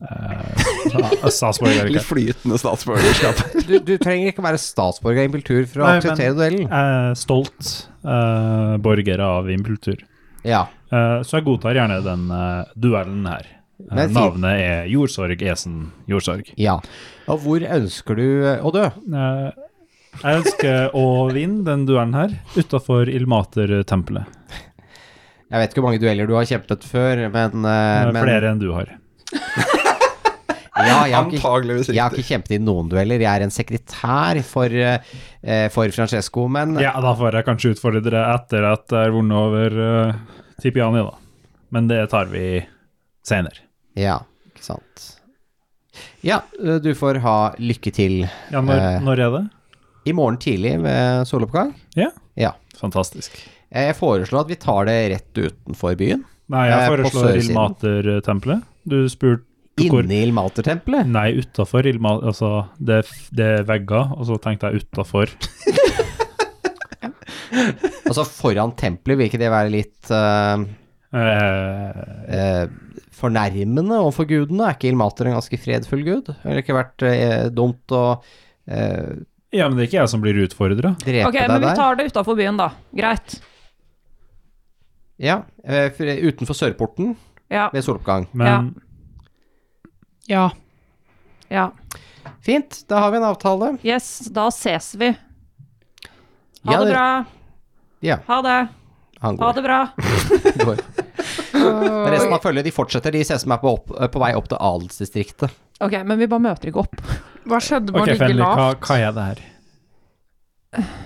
Speaker 4: uh, statsborger.
Speaker 3: Litt
Speaker 4: ikke?
Speaker 3: flytende statsborgerskap.
Speaker 2: Du, du trenger ikke være statsborger av impultur for å
Speaker 4: Nei, men-
Speaker 2: akseptere duellen.
Speaker 4: Jeg er stolt uh, borger av impultur.
Speaker 2: Ja.
Speaker 4: Eh, så jeg godtar gjerne den eh, duellen her. Eh,
Speaker 2: Det er fint.
Speaker 4: navnet er Jordsorg Esen Jordsorg.
Speaker 2: ja. Og hvor ønsker du eh, å dø?
Speaker 4: Eh, jeg ønsker å vinne den duellen her utafor Ilmater-tempelet.
Speaker 2: Jeg vet ikke hvor mange dueller du har kjempet før, men, eh,
Speaker 4: Eh,
Speaker 2: men
Speaker 4: Flere enn du har.
Speaker 2: Ja,
Speaker 3: Ah,
Speaker 2: jeg har ikke
Speaker 3: Antageligvis
Speaker 2: jeg har
Speaker 3: riktig.
Speaker 2: ikke kjempet i noen dueller, jeg er en sekretær for, eh, eh, for Francesco, men
Speaker 4: Ja, da får jeg kanskje utfordre dere etter at jeg har vunnet over eh, Tipiani, da. Men det tar vi senere.
Speaker 2: Ja, ikke sant. Ja, eh, du får ha lykke til
Speaker 4: Ja, når,
Speaker 2: Eh.
Speaker 4: når er det?
Speaker 2: i morgen tidlig ved soloppgang.
Speaker 4: Ja.
Speaker 2: Ja.
Speaker 4: Fantastisk.
Speaker 2: Eh, Jeg foreslår at vi tar det rett utenfor byen.
Speaker 4: Nei,
Speaker 2: Eh,
Speaker 4: jeg
Speaker 2: på
Speaker 4: foreslår
Speaker 2: sørsiden.
Speaker 4: Ilmater-tempelet. Du spurte hvor
Speaker 2: Inne i
Speaker 4: [laughs]
Speaker 2: Ilmatertempelet.
Speaker 4: Nei, utafor Ilma... Altså, det, er f- det er vegger, og så tenkte jeg utafor.
Speaker 2: Altså foran tempelet, vil ikke det være litt eh,
Speaker 4: Eh,
Speaker 2: eh, fornærmende overfor gudene? Er ikke Ilmater en ganske fredfull gud? Ville det ikke vært eh, dumt å eh,
Speaker 4: ja, men det er ikke jeg som blir utfordra.
Speaker 2: drepe
Speaker 6: Ok,
Speaker 2: deg
Speaker 6: men vi
Speaker 2: der?
Speaker 6: tar det utafor byen, da. Greit.
Speaker 2: Ja, eh, for- utenfor sørporten
Speaker 6: Ja,
Speaker 2: ved soloppgang.
Speaker 4: Men
Speaker 5: Ja.
Speaker 6: ja.
Speaker 2: Fint, da har vi en avtale.
Speaker 6: Yes, da ses vi.
Speaker 2: Ja,
Speaker 6: Ha det
Speaker 2: det-
Speaker 6: bra.
Speaker 2: Ja.
Speaker 6: Ha det.
Speaker 2: Han går.
Speaker 6: Ha det bra.
Speaker 2: [laughs] går. Men resten av følget de fortsetter, de ser ut som er på, opp, eh, på vei opp til adelsdistriktet.
Speaker 6: Ok, men vi bare møter ikke opp.
Speaker 5: Hva skjedde
Speaker 4: OK,
Speaker 5: med å ligge
Speaker 4: Fenrik, hva,
Speaker 5: lavt?
Speaker 4: hva er det her?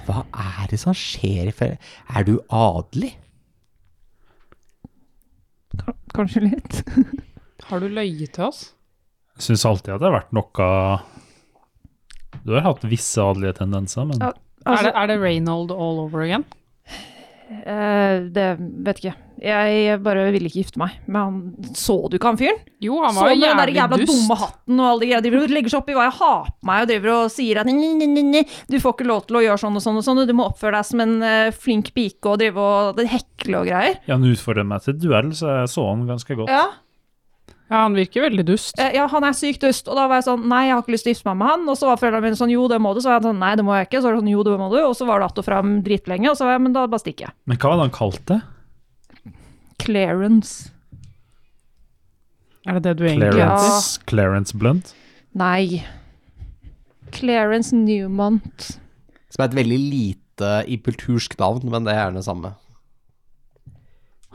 Speaker 2: Hva er det som skjer i Fel- Er du adelig?
Speaker 6: Kanskje
Speaker 5: [laughs]
Speaker 6: litt.
Speaker 5: Har du løyet til oss?
Speaker 4: Syns alltid at det har vært noe Du har hatt visse adelige tendenser, men
Speaker 6: Ja. Altså-
Speaker 5: er, det, er det Reynold all over again?
Speaker 6: Eh, det vet ikke. Jeg bare ville ikke gifte meg. Men han så du ikke han fyren?
Speaker 5: Jo, han
Speaker 6: Så
Speaker 5: var
Speaker 6: med
Speaker 5: jo
Speaker 6: den der jævla
Speaker 5: jævlig
Speaker 6: dumme
Speaker 5: dust.
Speaker 6: hatten og alle de greiene. Driver og legger seg opp i hva jeg har på meg, og driver og sier at «Ni, ni, ni, ni, du får ikke lov til å gjøre sånn og sånn og sånn, og du må oppføre deg som en eh, flink pike og drive og hekle og greier.
Speaker 4: Ja, han utfordret meg til duell, så jeg så han ganske godt.
Speaker 6: Ja.
Speaker 5: Ja, han virker veldig dust.
Speaker 6: Eh, ja, han er sykt dust. Og da var jeg sånn, nei, jeg har ikke lyst til å gifte meg med han. Og så var foreldrene mine sånn, jo, det må du. Så var jeg sånn, nei, det må jeg ikke. Så var det sånn, jo, det må du. Og så var det att og fram dritlenge, og så var jeg, men da bare stikker jeg.
Speaker 4: Men hva var det han kalte det?
Speaker 6: Clarence.
Speaker 5: Er det det du egentlig heter?
Speaker 4: Clarence, Clarence Blunt?
Speaker 6: Nei. Clarence Newmont.
Speaker 2: Som er et veldig lite impultursk navn, men det er gjerne det samme.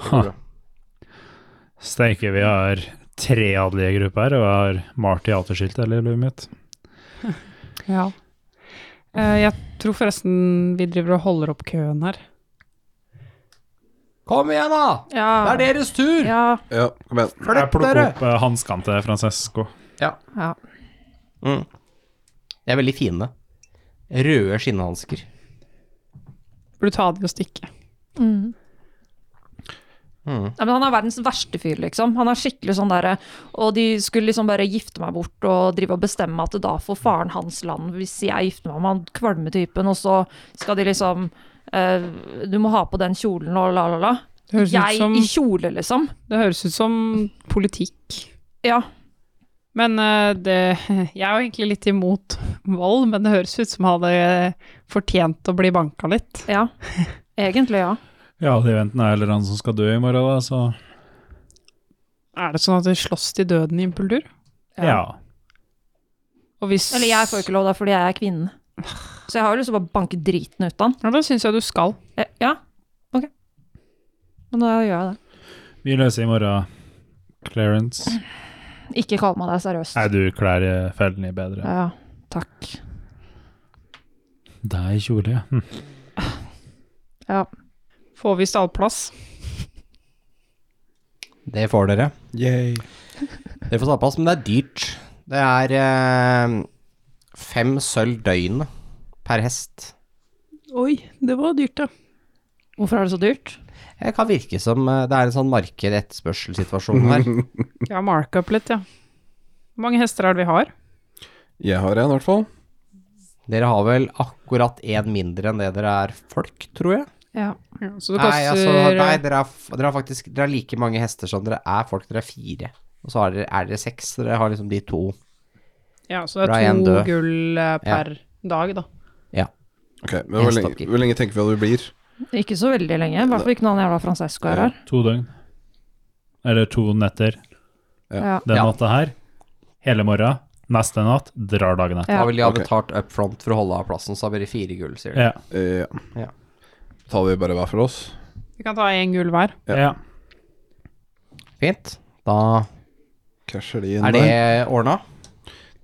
Speaker 4: Huh. Steike, vi har tre adelige grupper her, og jeg har malt teaterskiltet eller i livet mitt.
Speaker 5: Ja. Eh, jeg tror forresten vi driver og holder opp køen her.
Speaker 2: Kom igjen, da! Det
Speaker 6: Ja.
Speaker 2: er deres tur!
Speaker 6: Ja.
Speaker 3: Ja, kom igjen.
Speaker 4: Jeg
Speaker 2: Flytt
Speaker 4: plukker
Speaker 2: dere!
Speaker 4: opp eh, hanskene til Francesco.
Speaker 6: ja.
Speaker 2: De er veldig fine. Røde skinnhansker.
Speaker 5: Burde ta de og stikke.
Speaker 6: Ja, men han er verdens verste fyr, liksom. Han er skikkelig sånn derre Og de skulle liksom bare gifte meg bort og drive og bestemme at da får faren hans land hvis jeg gifter meg med han kvalmetypen, og så skal de liksom eh, Du må ha på den kjolen og la, la, la.
Speaker 5: Det høres,
Speaker 6: Jeg
Speaker 5: ut,
Speaker 6: i
Speaker 5: som,
Speaker 6: kjole, liksom.
Speaker 5: det høres ut som politikk.
Speaker 6: Ja.
Speaker 5: Men eh, det [laughs] Jeg er jo egentlig litt imot vold, men det høres ut som han hadde fortjent å bli banka litt.
Speaker 6: ja. Egentlig, ja.
Speaker 4: Ja, det er enten jeg eller han som skal dø i morgen, da, så
Speaker 5: Er det sånn at det slåss til døden i impultur?
Speaker 6: Ja.
Speaker 4: ja.
Speaker 5: Og hvis
Speaker 6: Eller jeg får ikke lov, da, fordi jeg er kvinne. Så jeg har jo lyst til å bare banke driten ut av han.
Speaker 5: Ja, da syns jeg du skal.
Speaker 6: Eh, Ja, ok. Men da gjør jeg det.
Speaker 4: Vi løser i morgen. Clarence.
Speaker 6: Ikke kall meg deg seriøst.
Speaker 4: Nei, du klær eh, fellen i bedre.
Speaker 6: Ja, takk.
Speaker 4: Deg i kjole, ja. Hm.
Speaker 6: Ja.
Speaker 5: Får vi stallplass?
Speaker 2: Det får dere.
Speaker 3: Yay.
Speaker 2: [laughs] Dere får stallplass, men det er dyrt. Det er eh, fem sølv døgnet per hest.
Speaker 5: Oi, det var dyrt, ja.
Speaker 6: Hvorfor er det så dyrt?
Speaker 2: Det kan virke som eh, det er en sånn marked-etterspørselssituasjon her.
Speaker 3: [laughs]
Speaker 5: Ja, mark up litt, ja. Hvor mange hester er det vi har?
Speaker 3: Jeg har en, i hvert fall.
Speaker 2: Dere har vel akkurat én mindre enn det dere er folk, tror jeg.
Speaker 6: Ja.
Speaker 5: Så det
Speaker 2: Nei,
Speaker 5: koster
Speaker 2: altså, nei dere, har, f- dere har faktisk dere har like mange hester som dere er folk. Dere er fire. Og så har dere, er dere seks. så Dere har liksom de to.
Speaker 5: Ja, så det
Speaker 2: Da er
Speaker 5: er
Speaker 2: en
Speaker 5: to
Speaker 2: død.
Speaker 5: gull eh, per dag, da.
Speaker 3: Ok, men hvor
Speaker 2: Jeg
Speaker 3: lenge,
Speaker 2: stopper.
Speaker 3: hvor lenge tenker vi at vi blir?
Speaker 6: Ikke så veldig lenge. I hvert fall ikke når han jævla Francesco er her.
Speaker 4: To døgn. Eller to netter.
Speaker 6: Ja.
Speaker 4: Den
Speaker 2: Ja.
Speaker 4: natta her. Hele morgen. Neste natt. Drar dagen etter.
Speaker 6: Ja.
Speaker 2: Da vil de ha
Speaker 3: Ok.
Speaker 2: betalt up front for å holde av plassen, så da blir det fire gull, sier de.
Speaker 4: Ja.
Speaker 3: Eh,
Speaker 2: Ja.
Speaker 3: ja. Tar vi bare hver for oss?
Speaker 5: Vi kan ta én gull hver.
Speaker 3: Ja.
Speaker 4: Ja.
Speaker 2: Fint. Da
Speaker 3: Casher de inn
Speaker 2: er det ordna.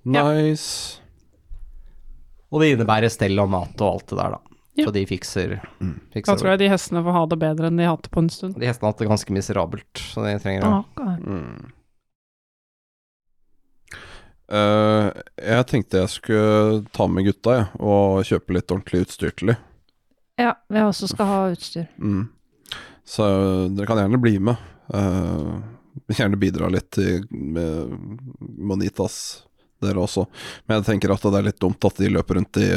Speaker 3: der? Nice.
Speaker 2: Og det innebærer stell og mat og alt det der, da.
Speaker 5: Ja.
Speaker 2: Så de fikser,
Speaker 5: Da
Speaker 2: fikser
Speaker 5: tror jeg de hestene får ha det bedre enn de har hatt det på en stund.
Speaker 2: De hestene har hatt det ganske miserabelt, så de trenger å
Speaker 6: Ah, ok.
Speaker 3: Mm. Eh, jeg tenkte jeg skulle ta med gutta jeg, og kjøpe litt ordentlig utstyr til dem.
Speaker 6: Ja, vi også skal ha utstyr.
Speaker 3: Mm. Så eh, dere kan gjerne bli med. Eh, gjerne bidra litt til med Monitas, dere også. Men jeg tenker at det er litt dumt at de løper rundt i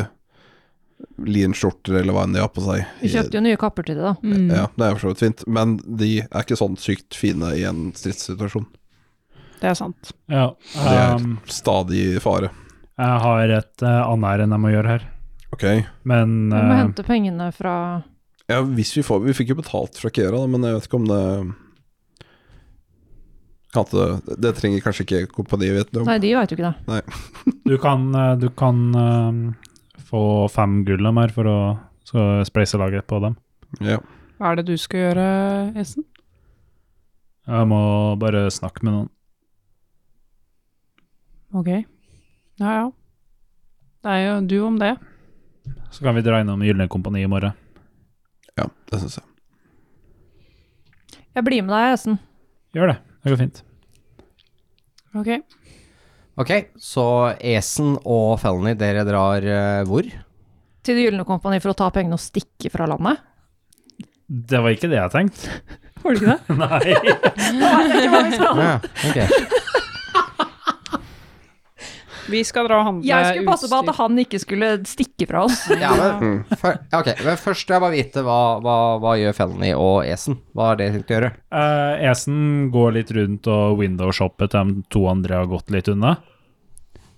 Speaker 3: linskjorter eller hva enn de har på seg.
Speaker 6: Vi kjøpte jo nye kapper til det, da.
Speaker 5: Mm.
Speaker 3: Ja, det er for så vidt fint, men de er ikke sånn sykt fine i en stridssituasjon.
Speaker 5: Det er sant.
Speaker 4: ja.
Speaker 3: Det er
Speaker 4: Um,
Speaker 3: stadig i fare.
Speaker 4: jeg har et uh, annet ærend jeg må gjøre her.
Speaker 3: Ok.
Speaker 4: Men
Speaker 6: Vi må
Speaker 4: eh,
Speaker 6: hente pengene fra
Speaker 3: Ja, hvis vi får Vi fikk jo betalt fra Kera, da, men jeg vet ikke om det kan ikke- det, det trenger kanskje ikke kompaniet vite om.
Speaker 6: Nei, de veit jo ikke det.
Speaker 4: du kan, eh, du kan eh, få fem gull av meg for å så spleise laget på dem.
Speaker 3: Ja.
Speaker 5: Hva er det du skal gjøre, Esten?
Speaker 4: Jeg må bare snakke med noen.
Speaker 5: Ok. Ja, ja. Det er jo du om det.
Speaker 4: Så kan vi dra innom Gylne kompani i morgen.
Speaker 3: ja, det syns jeg.
Speaker 6: Jeg blir med deg, Esen.
Speaker 4: Gjør det. Det går fint.
Speaker 5: Ok.
Speaker 2: Ok, så Esen og Felony, dere drar eh, hvor?
Speaker 6: Til Det gylne kompani for å ta pengene og stikke fra landet.
Speaker 4: Det var ikke det jeg tenkte.
Speaker 5: Var det ikke
Speaker 6: [laughs]
Speaker 5: det?
Speaker 4: Nei.
Speaker 2: Ja, ok.
Speaker 5: Vi skal dra og handle
Speaker 6: Jeg skulle passe på at han ikke skulle stikke fra oss.
Speaker 2: Ja, men, før- ja, ok, men først skal jeg bare vite hva, hva, hva gjør Felony og Esen? Hva er det de skal gjøre?
Speaker 4: Eh, Esen går litt rundt og windowshopper til de to andre har gått litt unna.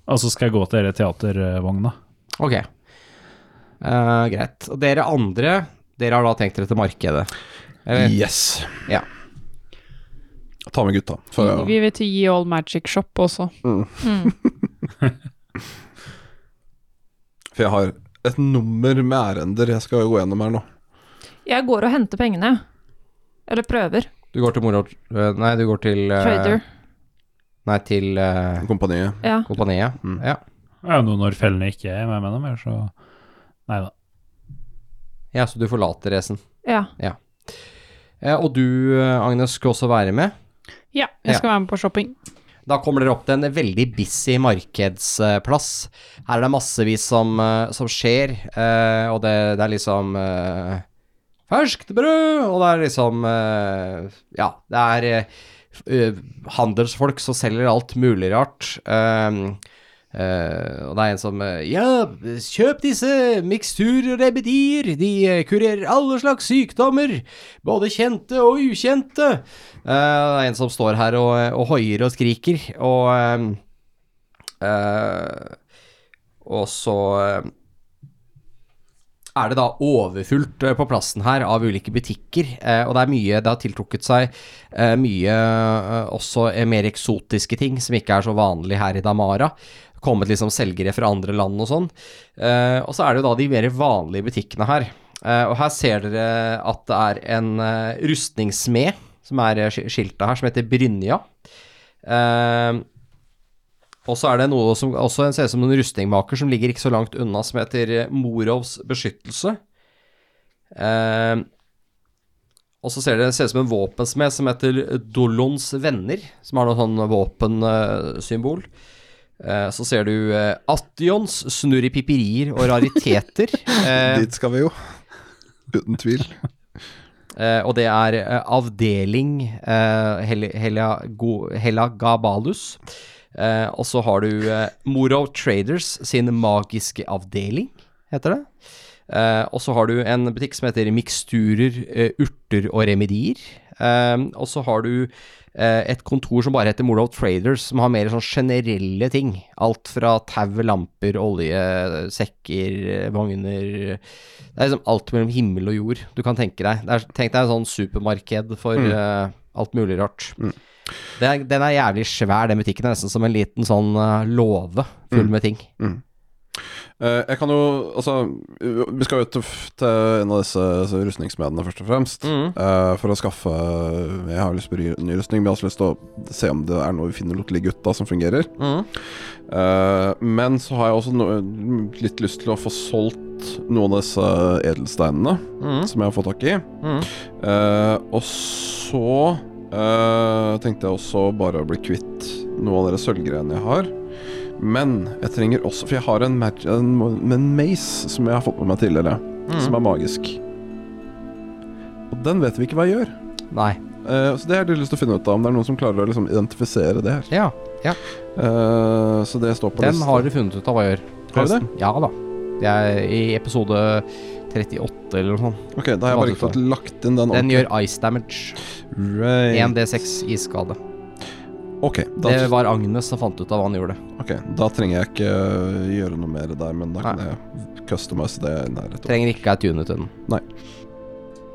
Speaker 4: Og så skal jeg gå til dere teatervogna.
Speaker 2: Ok. Eh, greit. Og dere andre, dere har da tenkt dere til markedet? Eller?
Speaker 3: Yes.
Speaker 2: Eh. Ja.
Speaker 3: Ta med gutta. For, å-
Speaker 5: Vi vil til Ye All Magic Shop også.
Speaker 3: for jeg har et nummer med ærender jeg skal gå gjennom her nå.
Speaker 6: Jeg går og henter pengene. Eller prøver.
Speaker 2: Du går til moro... eh, Nei, du går til eh,
Speaker 6: Trader.
Speaker 2: Nei, til eh,
Speaker 3: Kompaniet.
Speaker 6: Ja.
Speaker 2: kompaniet. Ja.
Speaker 4: Det er jo noe når fellene ikke er med, med dem, eller så Nei da.
Speaker 2: ja, så du forlater Esen.
Speaker 6: ja.
Speaker 2: Eh, og du, eh, Agnes, skal også være med.
Speaker 5: Ja, jeg skal være med på shopping.
Speaker 2: Da kommer dere opp til en veldig busy markedsplass. Her er det massevis som, eh, som skjer, eh, og det, det er liksom eh, ferskt brød, og det er liksom eh, Ja, det er eh, f- eh, handelsfolk som selger alt mulig rart. eh, eh, og det er en som eh, Ja, kjøp disse miksturer og remedier. De eh, kurerer alle slags sykdommer. Både kjente og ukjente. Eh, det er en som står her og, eh, og hoier og skriker, og eh, eh, Og så eh, er det da overfullt eh, på plassen her av ulike butikker, eh, og det er mye Det har tiltrukket seg eh, mye eh, også eh, mer eksotiske ting som ikke er så vanlig her i Damara. Kommet liksom selgere fra andre land og sånn. Eh, og så er det jo da de mer vanlige butikkene her. Eh, og her ser dere at det er en eh, rustningssmed som er eh, sk- skilta her, som heter Brynja. Eh, og så er det noe som også ser ut som en rustningmaker som ligger ikke så langt unna, som heter eh, Morovs beskyttelse. Eh, og så ser det ser ut som en våpensmed som heter Dolons venner, som har noe sånn våpensymbol. Eh, så ser du eh, Attions snurripipirier og rariteter. Eh,
Speaker 3: Dit skal vi jo. Uten tvil.
Speaker 2: Eh, og det er eh, avdeling eh, Hel- Hela, Go- Hela Gabalus. Eh, og så har du eh, Morov Traders sin magiske avdeling, heter det. Eh, og så har du en butikk som heter Miksturer, eh, urter og remedier. Eh, og så har du eh, et kontor som bare heter Morov Traders, som har mer sånn generelle ting. Alt fra tau, lamper, olje, sekker, eh, vogner Det er liksom alt mellom himmel og jord du kan tenke deg. Det er, tenk deg en sånn supermarked for
Speaker 3: Mm.
Speaker 2: eh, alt mulig rart. Det er, den er jævlig svær, den butikken. Det er Nesten som en liten sånn eh, låve
Speaker 3: Mm.
Speaker 2: full med ting.
Speaker 3: Eh, jeg kan jo Altså, vi skal jo til, til en av disse altså, rustningsmedene, først og fremst. eh, for å skaffe Jeg har lyst på ry- ny rustning, men jeg har også lyst til å se om det er noe vi finner noe til de gutta som fungerer. Eh, men så har jeg også no, litt lyst til å få solgt noen av disse edelsteinene som jeg har fått tak i. Eh, og så eh, tenkte jeg også bare å bli kvitt noe av de sølvgreiene jeg har. Men jeg trenger også For jeg har en, mag en, en mace som jeg har fått med meg tidligere,
Speaker 2: Mm.
Speaker 3: som er magisk. Og den vet vi ikke hva jeg gjør.
Speaker 2: Nei.
Speaker 3: Eh, så det har jeg lyst til å finne ut av, om det er noen som klarer å liksom, identifisere det her.
Speaker 2: Ja,
Speaker 3: Eh, så det står på
Speaker 2: den har du funnet ut av hva gjør.
Speaker 3: Har vi det?
Speaker 2: Ja da. Det er i episode 38 eller noe sånt.
Speaker 3: Ok, da har jeg bare ikke fått lagt inn den.
Speaker 2: Den
Speaker 3: ordentlig.
Speaker 2: gjør ice damage.
Speaker 3: Right.
Speaker 2: 1D6 isskade.
Speaker 3: Ok, Eh, da,
Speaker 2: Det var Agnes som fant ut av hva han gjorde.
Speaker 3: ok, da trenger jeg ikke eh, gjøre noe mer der, men da kan
Speaker 2: Nei.
Speaker 3: jeg customize det nær etterpå.
Speaker 2: Trenger ikke ei tune til den.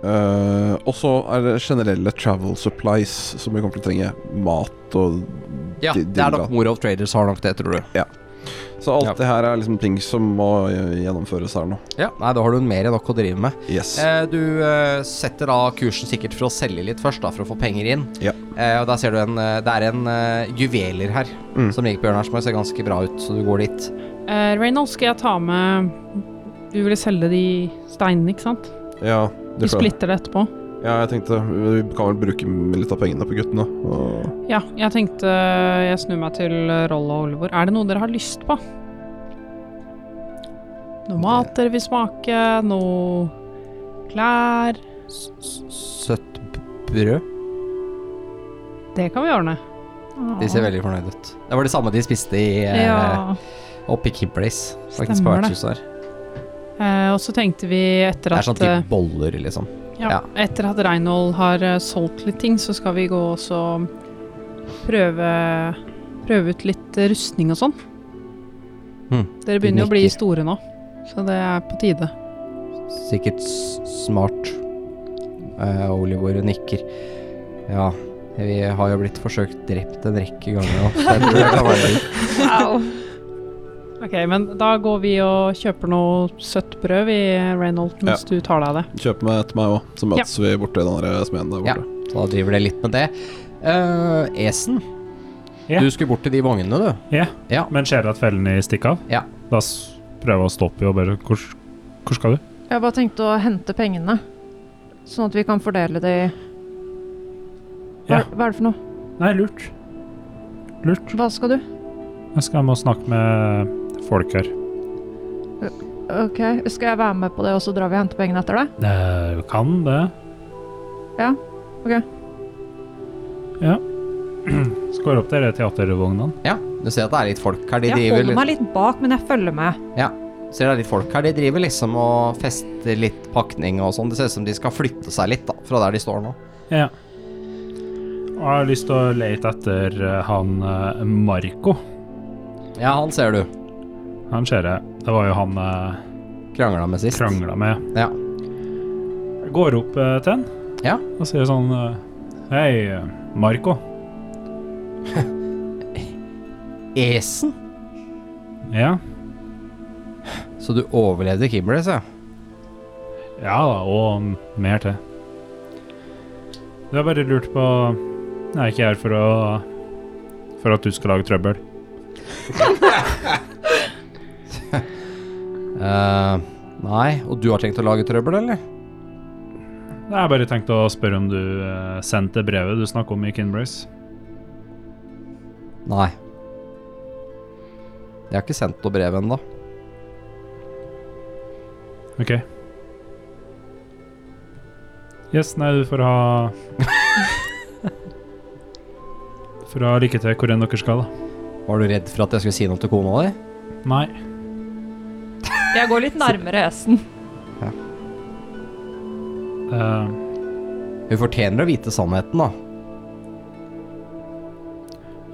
Speaker 3: Eh, og så er det generelle travel supplies som vi kommer til å trenge. Mat og
Speaker 2: Ja,
Speaker 3: Di-
Speaker 2: det er nok
Speaker 3: dilda.
Speaker 2: Morov Traders har nok det, tror du.
Speaker 3: Så alt
Speaker 2: Ja.
Speaker 3: det her er liksom ting som må eh, gjennomføres her nå.
Speaker 2: Ja, Nei, da har du mer enn nok å drive med.
Speaker 3: Yes.
Speaker 2: Eh, du eh, setter da kursen sikkert for å selge litt først, da, for å få penger inn.
Speaker 3: Ja.
Speaker 2: Eh, og der ser du en eh, Det er en eh, juveler her
Speaker 3: Mm.
Speaker 2: som ligger på hjørnet her, som ser ganske bra ut, så du går dit.
Speaker 5: Eh, Reynold, skal jeg ta med Du ville selge de steinene, ikke sant?
Speaker 3: ja,
Speaker 5: Vi
Speaker 3: det får jeg.
Speaker 5: splitter det etterpå.
Speaker 3: ja, jeg tenkte vi kan vel bruke litt av pengene på guttene. Og
Speaker 5: Ja, jeg tenkte eh, jeg snur meg til Roll og Olivor. Er det noe dere har lyst på? Noe mat dere vil smake? Noe klær?
Speaker 2: s- s- søtt b- brød.
Speaker 5: Det kan vi ordne.
Speaker 2: De ser veldig fornøyd ut. Det var det samme de spiste i, eh,
Speaker 5: Ja.
Speaker 2: oppe i Kibleys. Faktisk på
Speaker 5: Stemmer det.
Speaker 2: vertshuset her.
Speaker 5: Eh, og så tenkte vi etter
Speaker 2: Det er
Speaker 5: at
Speaker 2: sånn
Speaker 5: eh,
Speaker 2: type boller, liksom.
Speaker 5: Ja,
Speaker 2: Ja.
Speaker 5: Etter at Reinhold har eh, solgt litt ting, så skal vi gå og så prøve, prøve ut litt eh, rustning og sånn.
Speaker 2: Hm,
Speaker 5: Dere begynner jo å bli
Speaker 2: nikker.
Speaker 5: store nå, så det er på tide.
Speaker 2: Sikkert s- smart. Uh, Olivor nikker. Ja, vi har jo blitt forsøkt drept en rekke ganger
Speaker 5: [laughs]
Speaker 2: nå. så jeg tror det kan være-
Speaker 5: Ok, men da går vi og kjøper noe søtt brød, vi, Reynold, mens du tar deg av det.
Speaker 3: Kjøp meg et meg òg, så møtes vi borte i den der smeden der
Speaker 2: Ja.
Speaker 3: borte.
Speaker 2: Så da driver det litt med det. Eh, Esen,
Speaker 4: Ja.
Speaker 2: du skulle bort til de vognene, du.
Speaker 4: Men skjer det at fellene stikker av?
Speaker 2: Ja.
Speaker 4: Da s- prøver jeg å stoppe og bare hvor, hvor skal du?
Speaker 6: Jeg bare tenkte å hente pengene, sånn at vi kan fordele det i hva,
Speaker 4: Ja.
Speaker 6: hva er det for noe?
Speaker 4: Nei, lurt. Lurt.
Speaker 6: Hva skal du?
Speaker 4: Jeg skal hjem og snakke med folk her.
Speaker 6: Ok, Skal jeg være med på det, og så drar vi og henter pengene etter det?
Speaker 4: Eh, kan det.
Speaker 6: Ja, ok.
Speaker 4: Ja. [clears throat] Skår opp dere teatervognene.
Speaker 2: Ja, du ser at det er litt folk her. De
Speaker 6: Jeg
Speaker 2: driver
Speaker 6: holder meg litt bak, men jeg følger med.
Speaker 2: Ser det er litt folk her, de driver liksom og fester litt pakning og sånn. Det ser ut som de skal flytte seg litt da, fra der de står nå.
Speaker 4: Ja. Og jeg har lyst til å lete etter eh, han eh, Marco.
Speaker 2: Ja, han ser du.
Speaker 4: Han ser jeg. Det var jo han jeg
Speaker 2: Krangla med sist.
Speaker 4: krangla med.
Speaker 2: Ja.
Speaker 4: Jeg går opp eh, til han
Speaker 2: Ja.
Speaker 4: og sier sånn eh, Hei, eh, Marco.
Speaker 2: Esen?
Speaker 4: Ja?
Speaker 2: Så du overlevde Kimberley, ja.
Speaker 4: Ja da, og mer til. Du har bare lurt på Jeg er ikke her for å For at du skal lage trøbbel.
Speaker 2: Eh, nei, og du har tenkt å lage trøbbel, eller?
Speaker 4: Jeg har bare tenkt å spørre om du eh, sendte brevet du snakket om i Kinbrace.
Speaker 2: Nei. Jeg har ikke sendt noe brev ennå.
Speaker 4: Ok. Yes, nei, du får ha [laughs] For å ha lykke til hvor enn dere skal, da.
Speaker 2: Var du redd for at jeg skulle si noe til kona di?
Speaker 4: Nei.
Speaker 6: Jeg går litt nærmere Esen.
Speaker 4: eh,
Speaker 2: Hun fortjener å vite sannheten, da.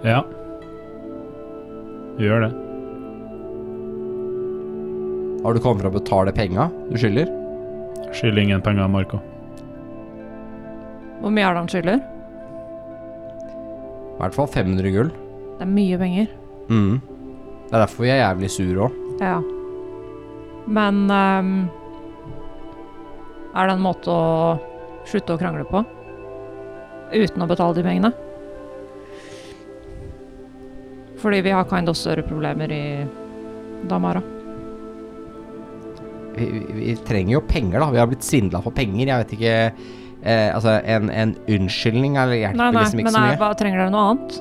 Speaker 4: ja. Du gjør det.
Speaker 2: Har du kommet for å betale penga du skylder?
Speaker 4: Skyld ingen penger, Marco.
Speaker 6: Hvor mye er det han skylder?
Speaker 2: I hvert fall 500 gull.
Speaker 6: Det er mye penger.
Speaker 2: Mm. Det er derfor vi er jævlig sure òg.
Speaker 6: Ja. Men ehm, er det en måte å slutte å krangle på? Uten å betale de pengene? Fordi vi har kind of større problemer i Damara.
Speaker 2: vi, vi- vi trenger jo penger, da. Vi har blitt svindla for penger. Jeg vet ikke eh, Altså, en, en unnskyldning eller hjelper
Speaker 6: Nei, nei,
Speaker 2: liksom
Speaker 6: men
Speaker 2: ikke så
Speaker 6: er,
Speaker 2: mye.
Speaker 6: hva, trenger dere noe annet?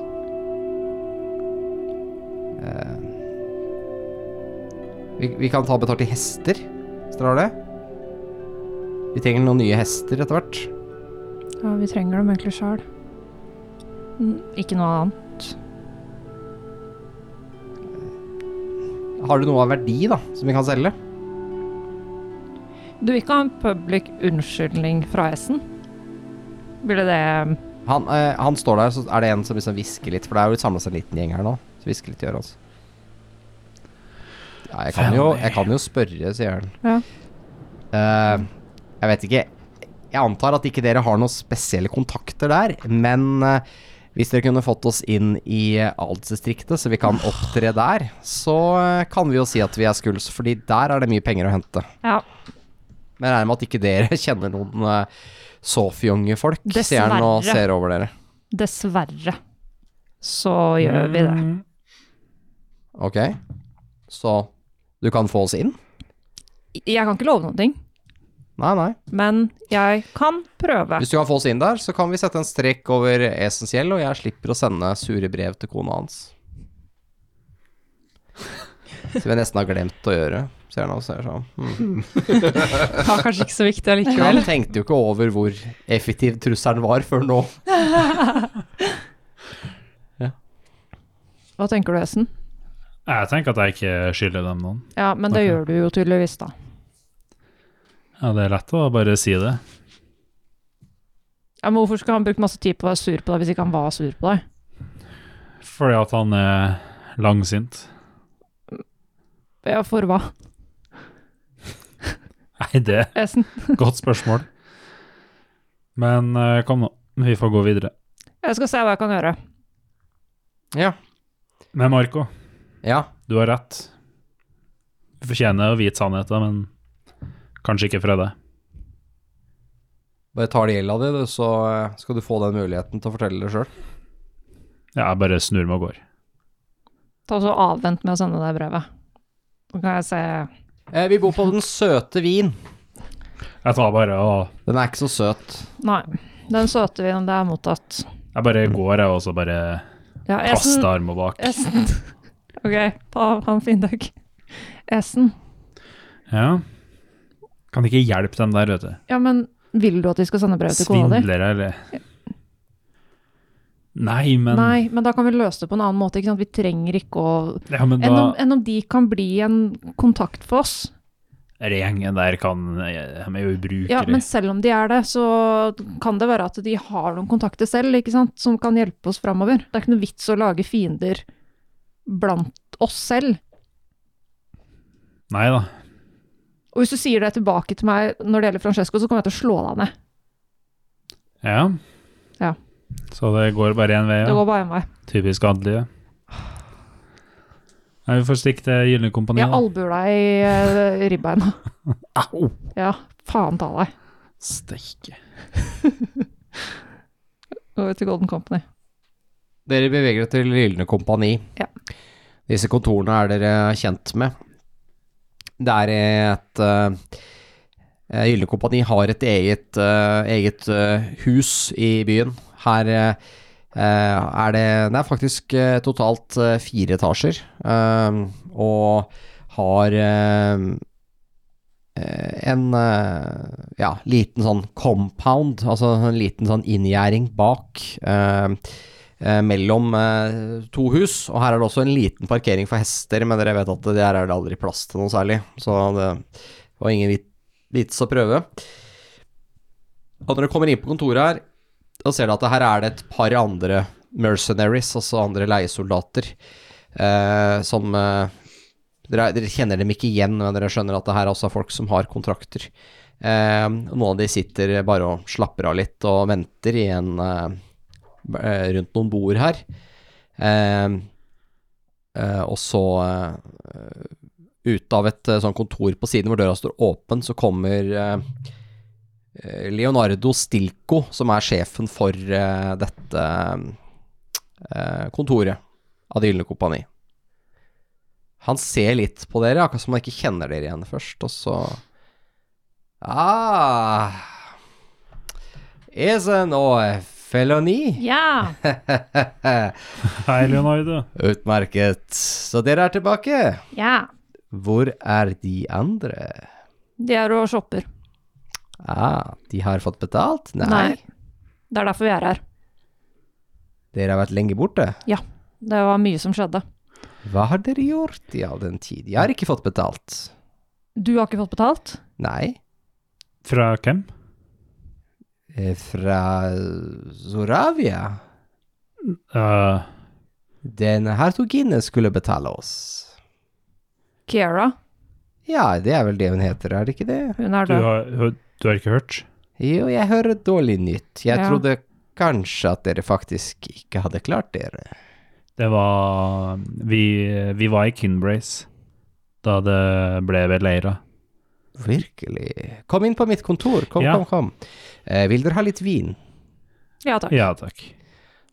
Speaker 2: Eh, Vi, vi kan ta betalt i hester, hvis dere har det. Vi trenger noen nye hester etter hvert.
Speaker 6: Ja, vi trenger dem egentlig sjøl. Ikke noe annet.
Speaker 2: Har du noe av verdi, da, som vi kan selge?
Speaker 6: Du vil ikke ha en public unnskyldning fra S-en? Ville det
Speaker 2: Han, eh, han står der, så er det en som liksom hvisker litt, for det er jo samla seg en liten gjeng her nå. Så hvisker litt i øret hans. Ja, jeg kan, jo, jeg kan jo spørre, sier han.
Speaker 6: Ja.
Speaker 2: Eh, jeg vet ikke Jeg antar at ikke dere har noen spesielle kontakter der, men eh, hvis dere kunne fått oss inn i eh, adelsdistriktet, så vi kan opptre der, så eh, kan vi jo si at vi er skuls, fordi der er det mye penger å hente.
Speaker 6: Ja,
Speaker 2: Men jeg regner med at ikke dere [laughs] kjenner noen eh, såfjonge folk, sier han og
Speaker 6: Dessverre.
Speaker 2: ser over dere.
Speaker 6: dessverre så gjør vi det.
Speaker 4: Mm,
Speaker 2: Ok, så du kan få oss inn?
Speaker 6: Jeg kan ikke love noen ting,
Speaker 2: Nei, nei.
Speaker 6: men jeg kan prøve.
Speaker 2: Hvis du kan få oss inn der, så kan vi sette en strekk over Esens gjeld, og jeg slipper å sende sure brev til kona hans. Som jeg nesten har glemt å gjøre. ser han og ser sånn. Hmm.
Speaker 5: Det var kanskje ikke så viktig allikevel.
Speaker 2: Han tenkte jo ikke over hvor effektiv trusselen var før nå.
Speaker 6: Hva tenker du, Essen?
Speaker 4: Jeg tenker at jeg ikke skylder dem noen.
Speaker 6: Ja, men det
Speaker 4: Ok.
Speaker 6: gjør du jo tydeligvis, da.
Speaker 4: Ja, Det er lett å bare si det.
Speaker 6: Ja, men hvorfor skulle han brukt masse tid på å være sur på deg hvis ikke han var sur på deg?
Speaker 4: Fordi at han er langsint. [laughs]
Speaker 6: Ja, for hva?
Speaker 4: Nei, det er
Speaker 6: Esen,
Speaker 4: et godt spørsmål. Men eh, kom nå, vi får gå videre.
Speaker 6: jeg skal se hva jeg kan gjøre.
Speaker 2: Ja.
Speaker 4: Men Marco,
Speaker 2: ja.
Speaker 4: du har rett. Du fortjener å vite sannheten, men kanskje ikke fra deg.
Speaker 2: Bare tar det gjelda di, du, så eh, skal du få den muligheten til å fortelle det sjøl.
Speaker 4: Ja, jeg bare snur meg og går.
Speaker 6: Ta så avvent med å sende deg brevet. Så kan jeg se
Speaker 2: Eh, vi bor på Den søte vin.
Speaker 4: Jeg tar bare og
Speaker 2: Den er ikke så søt.
Speaker 6: Nei. Den søte vinen, det er mottatt.
Speaker 4: Jeg bare går, jeg, og så bare
Speaker 6: Ja,
Speaker 4: kaster armen bak.
Speaker 6: Esen. [laughs] Ok, ta, ha en fin dag. Esen.
Speaker 4: Ja. Kan ikke hjelpe dem der, vet du.
Speaker 6: Ja, men vil du at de skal sende brev til kona di?
Speaker 4: Svindler, eller Nei, men,
Speaker 6: Nei, men da kan vi løse det på en annen måte. Ikke sant? Vi trenger ikke å
Speaker 4: ja, men
Speaker 6: enn om,
Speaker 4: da,
Speaker 6: enn om de kan bli en kontakt for oss.
Speaker 4: den gjengen der kan eh, De er jo ubrukelige.
Speaker 6: Ja, men selv om de er det, så kan det være at de har noen kontakter selv, ikke sant, som kan hjelpe oss framover. Det er ikke noe vits å lage fiender blant oss selv.
Speaker 4: Nei da.
Speaker 6: Og hvis du sier det tilbake til meg når det gjelder Francesco, så kommer jeg til å slå deg ned.
Speaker 4: Ja.
Speaker 6: Ja.
Speaker 4: Så det går bare én vei,
Speaker 6: Det
Speaker 4: ja.
Speaker 6: går bare én vei.
Speaker 4: Typisk adelige. Nei, vi får stikke til Gylne kompani,
Speaker 6: Jeg
Speaker 4: da.
Speaker 6: albuer deg i eh, ribbeina.
Speaker 4: Au!
Speaker 6: Ja, faen ta deg.
Speaker 4: Steike.
Speaker 6: Gå ut til Golden Company.
Speaker 2: Dere beveger dere til Gylne kompani.
Speaker 6: Ja.
Speaker 2: Disse kontorene er dere kjent med. Det er et uh, Gylne kompani har et eget, eh, eget eh, hus i byen. Her eh, eh, er det Det er faktisk eh, totalt eh, fire etasjer. eh, og har eh, eh, en eh, ja, liten sånn compound, altså en liten sånn inngjerding bak. eh, eh, mellom eh, to hus, og her er det også en liten parkering for hester, men dere vet at det her er det aldri plass til noe særlig, så det var ingen vit- vits å prøve. Og når dere kommer inn på kontoret her, da ser dere at det her er det et par andre mercenaries, altså andre leiesoldater, eh, som eh, dere, dere kjenner dem ikke igjen, men dere skjønner at det her også er folk som har kontrakter. Eh, og noen av de sitter bare og slapper av litt og venter i en eh, eh, rundt noen bord her. Eh, eh, og så eh, ut av et eh, sånn kontor på siden hvor døra står åpen, så kommer eh, eh, Leonardo Stilco, som er sjefen for eh, dette eh, kontoret av Det gylne kompani. Han ser litt på dere, akkurat som han ikke kjenner dere igjen først, og så ah, Is an oe feloni?
Speaker 6: Ja!
Speaker 2: [laughs]
Speaker 4: Hei, Leonardo.
Speaker 2: Utmerket. Så dere er tilbake.
Speaker 6: Ja.
Speaker 2: Hvor er de andre?
Speaker 6: De er og shopper.
Speaker 2: Ah, de har fått betalt? Nei.
Speaker 6: Det er derfor vi er her.
Speaker 2: Dere har vært lenge borte.
Speaker 6: Det var mye som skjedde.
Speaker 2: Hva har dere gjort i all den tid? Jeg har ikke fått betalt.
Speaker 6: Du har ikke fått betalt?
Speaker 2: Nei.
Speaker 4: Fra hvem?
Speaker 2: Eh, Fra Zoravia.
Speaker 4: Eh,
Speaker 2: Den hertuginne skulle betale oss.
Speaker 6: Kiera,
Speaker 2: Ja, det er vel det hun heter, er det ikke det?
Speaker 6: hun er
Speaker 4: du,
Speaker 6: død.
Speaker 4: har, du har ikke hørt?
Speaker 2: Jo, jeg hører dårlig nytt. Jeg
Speaker 6: Ja.
Speaker 2: trodde kanskje at dere faktisk ikke hadde klart dere.
Speaker 4: Det var Vi, vi var i Kinbrace da det ble beleira.
Speaker 2: Virkelig. Kom inn på mitt kontor. Kom,
Speaker 4: Ja.
Speaker 2: kom, kom. Eh, vil dere ha litt vin?
Speaker 6: Ja takk.
Speaker 4: Ja takk.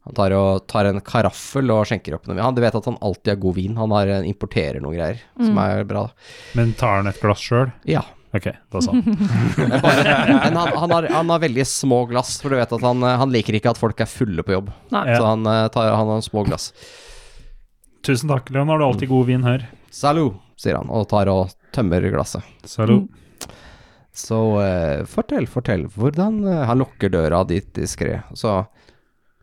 Speaker 2: Han tar, og, tar en karaffel og skjenker opp noe. Han du vet at han alltid har god vin. Han har, eh, importerer noen greier som er bra.
Speaker 4: Men tar han et glass sjøl?
Speaker 2: Ja.
Speaker 4: Ok, da sa
Speaker 6: [laughs]
Speaker 4: han.
Speaker 2: [laughs] Men han, han, har, han har veldig små glass, for du vet at han, eh, han liker ikke at folk er fulle på jobb.
Speaker 6: Nei.
Speaker 4: Ja.
Speaker 2: Så han, eh, tar, han har små glass.
Speaker 4: Tusen takk, Leon. Har du alltid god vin her?
Speaker 2: Salut, sier han, og tar og tømmer glasset.
Speaker 4: Salo.
Speaker 2: Så eh, fortell, fortell, hvordan eh, Han lukker døra dit diskré. Så,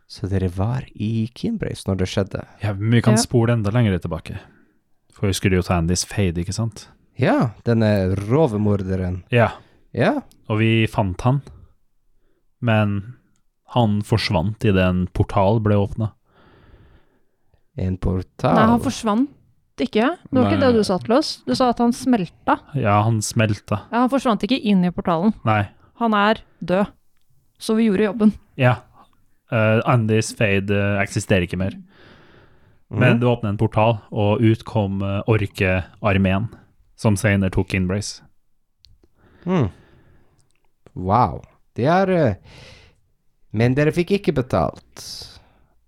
Speaker 2: så dere var i Keenbrace når det skjedde?
Speaker 4: Ja, men vi kan
Speaker 5: Ja.
Speaker 4: spole enda lenger tilbake. For husker du jo Tandys fade, ikke sant?
Speaker 2: Ja, denne rovmorderen.
Speaker 4: Ja,
Speaker 2: Ja,
Speaker 4: og vi fant han. Men han forsvant idet en portal ble åpna.
Speaker 2: en portal.
Speaker 6: Nei, han forsvant ikke. Det var ikke
Speaker 4: Nei.
Speaker 6: det du sa til oss. Du sa at han smelta.
Speaker 4: Ja, han smelta.
Speaker 6: Ja, han forsvant ikke inn i portalen.
Speaker 4: Nei,
Speaker 6: Han er død. Så vi gjorde jobben.
Speaker 4: ja. Uh, Andys fade eh, eksisterer ikke mer.
Speaker 2: Mhm.
Speaker 4: Men det åpna en portal, og ut kom eh, orkearmeen, som senere tok Inbrace.
Speaker 2: Mm. Wow. Det er eh, Men dere fikk ikke betalt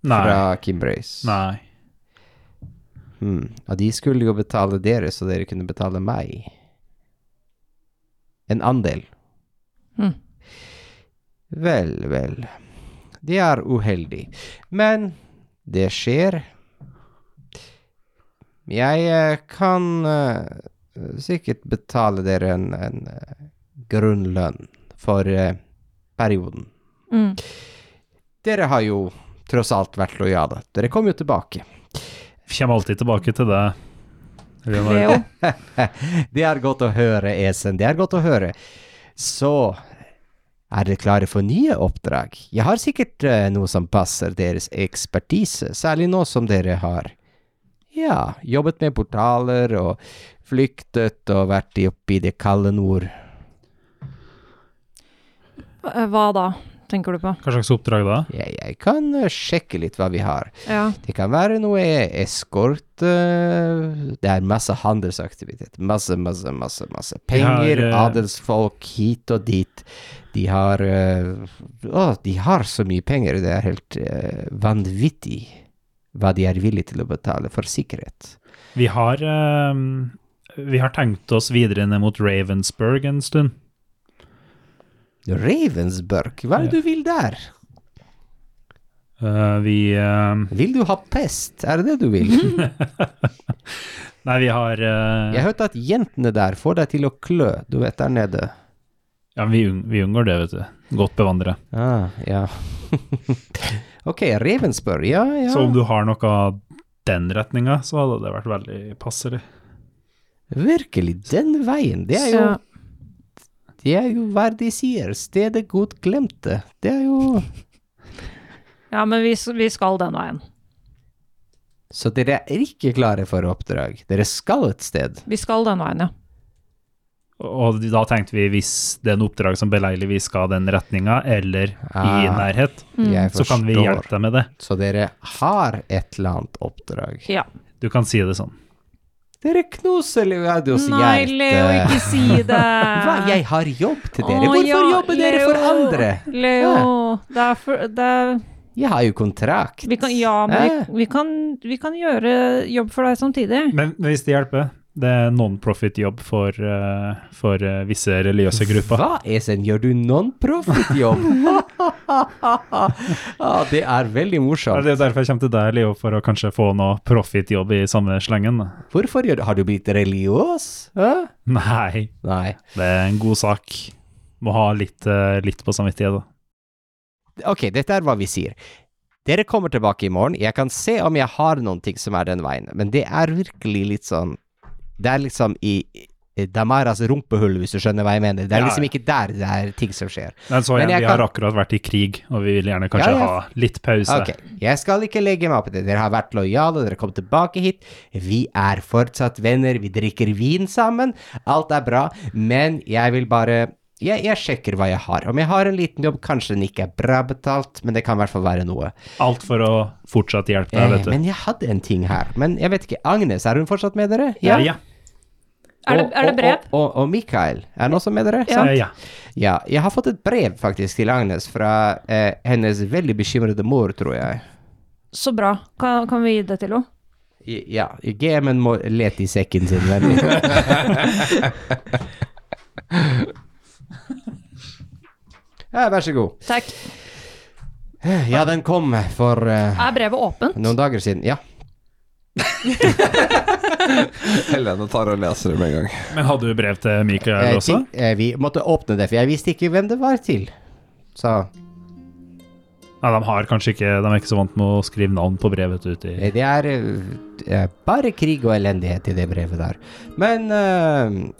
Speaker 4: Nei.
Speaker 2: fra Kimbrace.
Speaker 4: Nei.
Speaker 2: Mm. Ja, de skulle jo betale dere, så dere kunne betale meg. En andel.
Speaker 6: Mm.
Speaker 2: Vel, vel. Det er uheldig. Men det skjer. Jeg eh, kan eh, sikkert betale dere en, en eh, grunnlønn for eh, perioden.
Speaker 6: Mm.
Speaker 2: Dere har jo tross alt vært lojale. Dere kom jo tilbake.
Speaker 4: Vi kommer alltid tilbake til det. Leonor.
Speaker 6: Leo.
Speaker 2: [laughs] Det er godt å høre, Esen. Det er godt å høre. Så er dere klare for nye oppdrag? Jeg har sikkert eh, noe som passer deres ekspertise, særlig nå som dere har ja, jobbet med portaler og flyktet og vært i- oppe i det kalde nord.
Speaker 6: Eh, Hva da, tenker du på?
Speaker 4: Hva slags oppdrag da?
Speaker 2: Jeg, jeg kan eh, sjekke litt hva vi har.
Speaker 6: Ja.
Speaker 2: Det kan være noe eskort eh, Det er masse handelsaktivitet. Masse, masse, masse. masse Penger,
Speaker 4: eh,
Speaker 2: adelsfolk hit og dit. De har eh, Å, de har så mye penger. Det er helt eh, vanvittig hva de er villige til å betale for sikkerhet.
Speaker 4: Vi har, ehm, vi har tenkt oss videre ned mot Ravensburg en stund.
Speaker 2: Ravensburg, hva er det du vil der?
Speaker 4: Eh, vi ehm,
Speaker 2: Vil du ha pest? Er det det du vil?
Speaker 4: Mhm. Nei, vi har eh,
Speaker 2: Jeg hørte at jentene der får deg til å klø, du vet, der nede.
Speaker 4: Ja, vi, unn- vi unngår det, vet du. Godt bevandret.
Speaker 2: Ah, ja. [laughs] ok, Ravensburg, ja, ja.
Speaker 4: Så om du har noe av den retninga, så hadde det vært veldig passelig.
Speaker 2: Virkelig, den veien. Det er jo,
Speaker 6: Så-
Speaker 2: det er jo hva de sier. Stedet godt glemte. Det er jo
Speaker 6: ja, men vi, s- vi skal den veien.
Speaker 2: Så dere er ikke klare for oppdrag. Dere skal et sted.
Speaker 6: Vi skal den veien, ja.
Speaker 4: Og da tenkte vi hvis det er en oppdrag som beleiligvis skal den retninga, eller i
Speaker 2: Ah,
Speaker 4: nærhet,
Speaker 6: Mm.
Speaker 2: Jeg
Speaker 4: så kan vi hjelpe deg med det.
Speaker 2: Så dere har et eller annet oppdrag.
Speaker 6: ja.
Speaker 4: Du kan si det sånn.
Speaker 2: Dere knuser Leodios
Speaker 6: Nei, Leo,
Speaker 2: hjerte.
Speaker 6: ikke
Speaker 2: [laughs]
Speaker 6: si det.
Speaker 2: eh, Hva? Jeg har jobb til dere.
Speaker 6: Å,
Speaker 2: Hvorfor
Speaker 6: ja,
Speaker 2: jobber dere for
Speaker 6: Leo.
Speaker 2: andre?
Speaker 6: Leo, det er for det er,
Speaker 2: Jeg har jo kontrakt.
Speaker 6: vi kan, Ja, men
Speaker 2: Eh.
Speaker 6: vi, vi, kan, vi kan gjøre jobb for deg samtidig.
Speaker 4: Men hvis det hjelper, det er non-profit-jobb for, eh, for eh, visse religiøse grupper.
Speaker 2: Hva, Esen, gjør du
Speaker 6: [laughs]
Speaker 2: non-profit-jobb? [laughs] ah, det er veldig
Speaker 4: Ja,
Speaker 2: morsomt.
Speaker 4: Det er jo derfor jeg kommer til deg, Leo, for å kanskje få noe profit-jobb i samme slengen. da. [laughs]
Speaker 2: Hvorfor gjør du Har du blitt religiøs? Hæ?
Speaker 4: Nei,
Speaker 2: Nei.
Speaker 4: det er en god sak. Må ha litt, eh, litt på samvittighet, da.
Speaker 2: Ok, dette er hva vi sier. Dere kommer tilbake i morgen. Jeg kan se om jeg har noen ting som er den veien, men det er virkelig litt sånn Det er liksom i i Damaras rumpehull, hvis du skjønner hva jeg mener. Det er
Speaker 4: Ja,
Speaker 2: liksom
Speaker 4: ja.
Speaker 2: ikke der det er ting som skjer.
Speaker 4: Men så
Speaker 2: Men
Speaker 4: igjen,
Speaker 2: jeg
Speaker 4: vi
Speaker 2: kan-
Speaker 4: har akkurat vært i krig, og vi vil gjerne kanskje
Speaker 2: Ja, ja.
Speaker 4: ha litt pause.
Speaker 2: Ok, jeg skal ikke legge meg opp i det. Dere har vært lojale, dere kom tilbake hit. Vi er fortsatt venner, vi drikker vin sammen. Alt er bra, men jeg vil bare jeg, jeg sjekker hva jeg har. Om jeg har en liten jobb, kanskje den ikke er bra betalt, men det kan i hvert fall være noe.
Speaker 4: Alt for å fortsatt hjelpe
Speaker 2: Eh,
Speaker 4: deg, vet du.
Speaker 2: men jeg hadde en ting her. Men jeg vet ikke. Agnes, er hun fortsatt med dere?
Speaker 4: ja. ja.
Speaker 6: Er det, er det brev?
Speaker 2: Og, og, og, og Mikael, er han også med dere?
Speaker 4: Så, ja.
Speaker 2: Ja, Jeg har fått et brev faktisk til Agnes fra eh, hennes veldig bekymrede mor, tror jeg.
Speaker 6: Så bra. Kan, kan vi gi det til henne?
Speaker 2: I- Ja, gamen må lete i sekken sin, vennlig. [laughs] ja, vær så god.
Speaker 6: Takk.
Speaker 2: Ja, den kom for eh,
Speaker 6: Er brevet åpent?
Speaker 2: noen dager siden. Ja.
Speaker 3: Helene tar og leser det med en gang.
Speaker 4: Men hadde du brev til Mikael
Speaker 2: Jeg
Speaker 4: også?
Speaker 2: tenk- eh, vi måtte åpne det, for jeg visste ikke hvem det var til. Så
Speaker 4: Nei, de har kanskje ikke De er ikke så vant med å skrive navn på brevet ute i
Speaker 2: eh, det er eh, bare krig og elendighet i det brevet der. Men eh,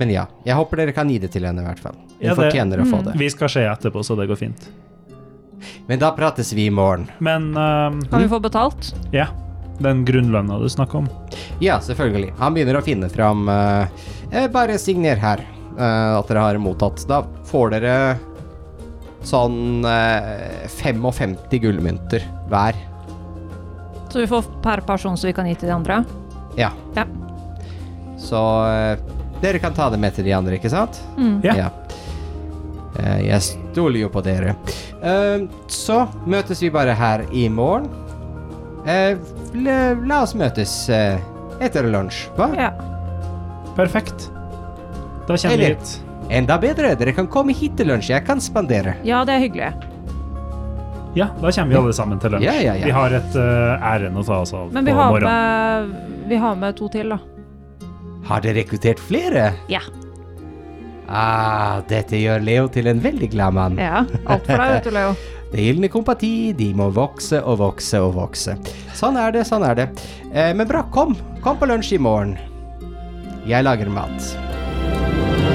Speaker 2: Men ja. Jeg håper dere kan gi det til henne, i hvert fall. Hun
Speaker 4: Ja, det- Mm.
Speaker 2: fortjener å få det.
Speaker 4: Vi skal se etterpå, så det går fint.
Speaker 2: Men da prates vi i morgen.
Speaker 4: Men ehm,
Speaker 6: Kan vi få betalt?
Speaker 4: ja, den grunnlønna du snakker om
Speaker 2: Ja, selvfølgelig. Han begynner å finne fram eh, eh, Bare signer her eh, at dere har mottatt. Da får dere sånn eh, 55 gullmynter hver.
Speaker 6: Så vi får per person som vi kan gi til de andre?
Speaker 2: Ja.
Speaker 6: Ja.
Speaker 2: Så eh, dere kan ta det med til de andre, ikke sant?
Speaker 6: Mm.
Speaker 4: Ja.
Speaker 2: Eh, jeg stoler jo på dere. Eh, så møtes vi bare her i morgen. Eh, la, la oss møtes eh, etter lunsj, hva?
Speaker 6: Ja.
Speaker 4: Perfekt. Da kjenner vi
Speaker 2: Eller-
Speaker 4: hit.
Speaker 2: Enda bedre, dere kan komme hit til lunsj, jeg kan spandere.
Speaker 6: ja, det er hyggelig.
Speaker 4: Ja, da kommer vi alle sammen til lunsj.
Speaker 2: Ja, ja, ja.
Speaker 4: Vi har et eh, ærend å ta oss av
Speaker 6: Men vi
Speaker 4: på
Speaker 6: har,
Speaker 4: morgenen.
Speaker 6: med, vi har med to til, da.
Speaker 2: Har dere rekruttert flere?
Speaker 6: Ja.
Speaker 2: Ah, dette gjør Leo til en veldig glad mann.
Speaker 6: ja. Alt for deg, vet du, Leo.
Speaker 2: Det gylne kompati, de må vokse og vokse og vokse. Sånn er det, sånn er det. Eh, men bra, kom. Kom på lunsj i morgen. Jeg lager mat.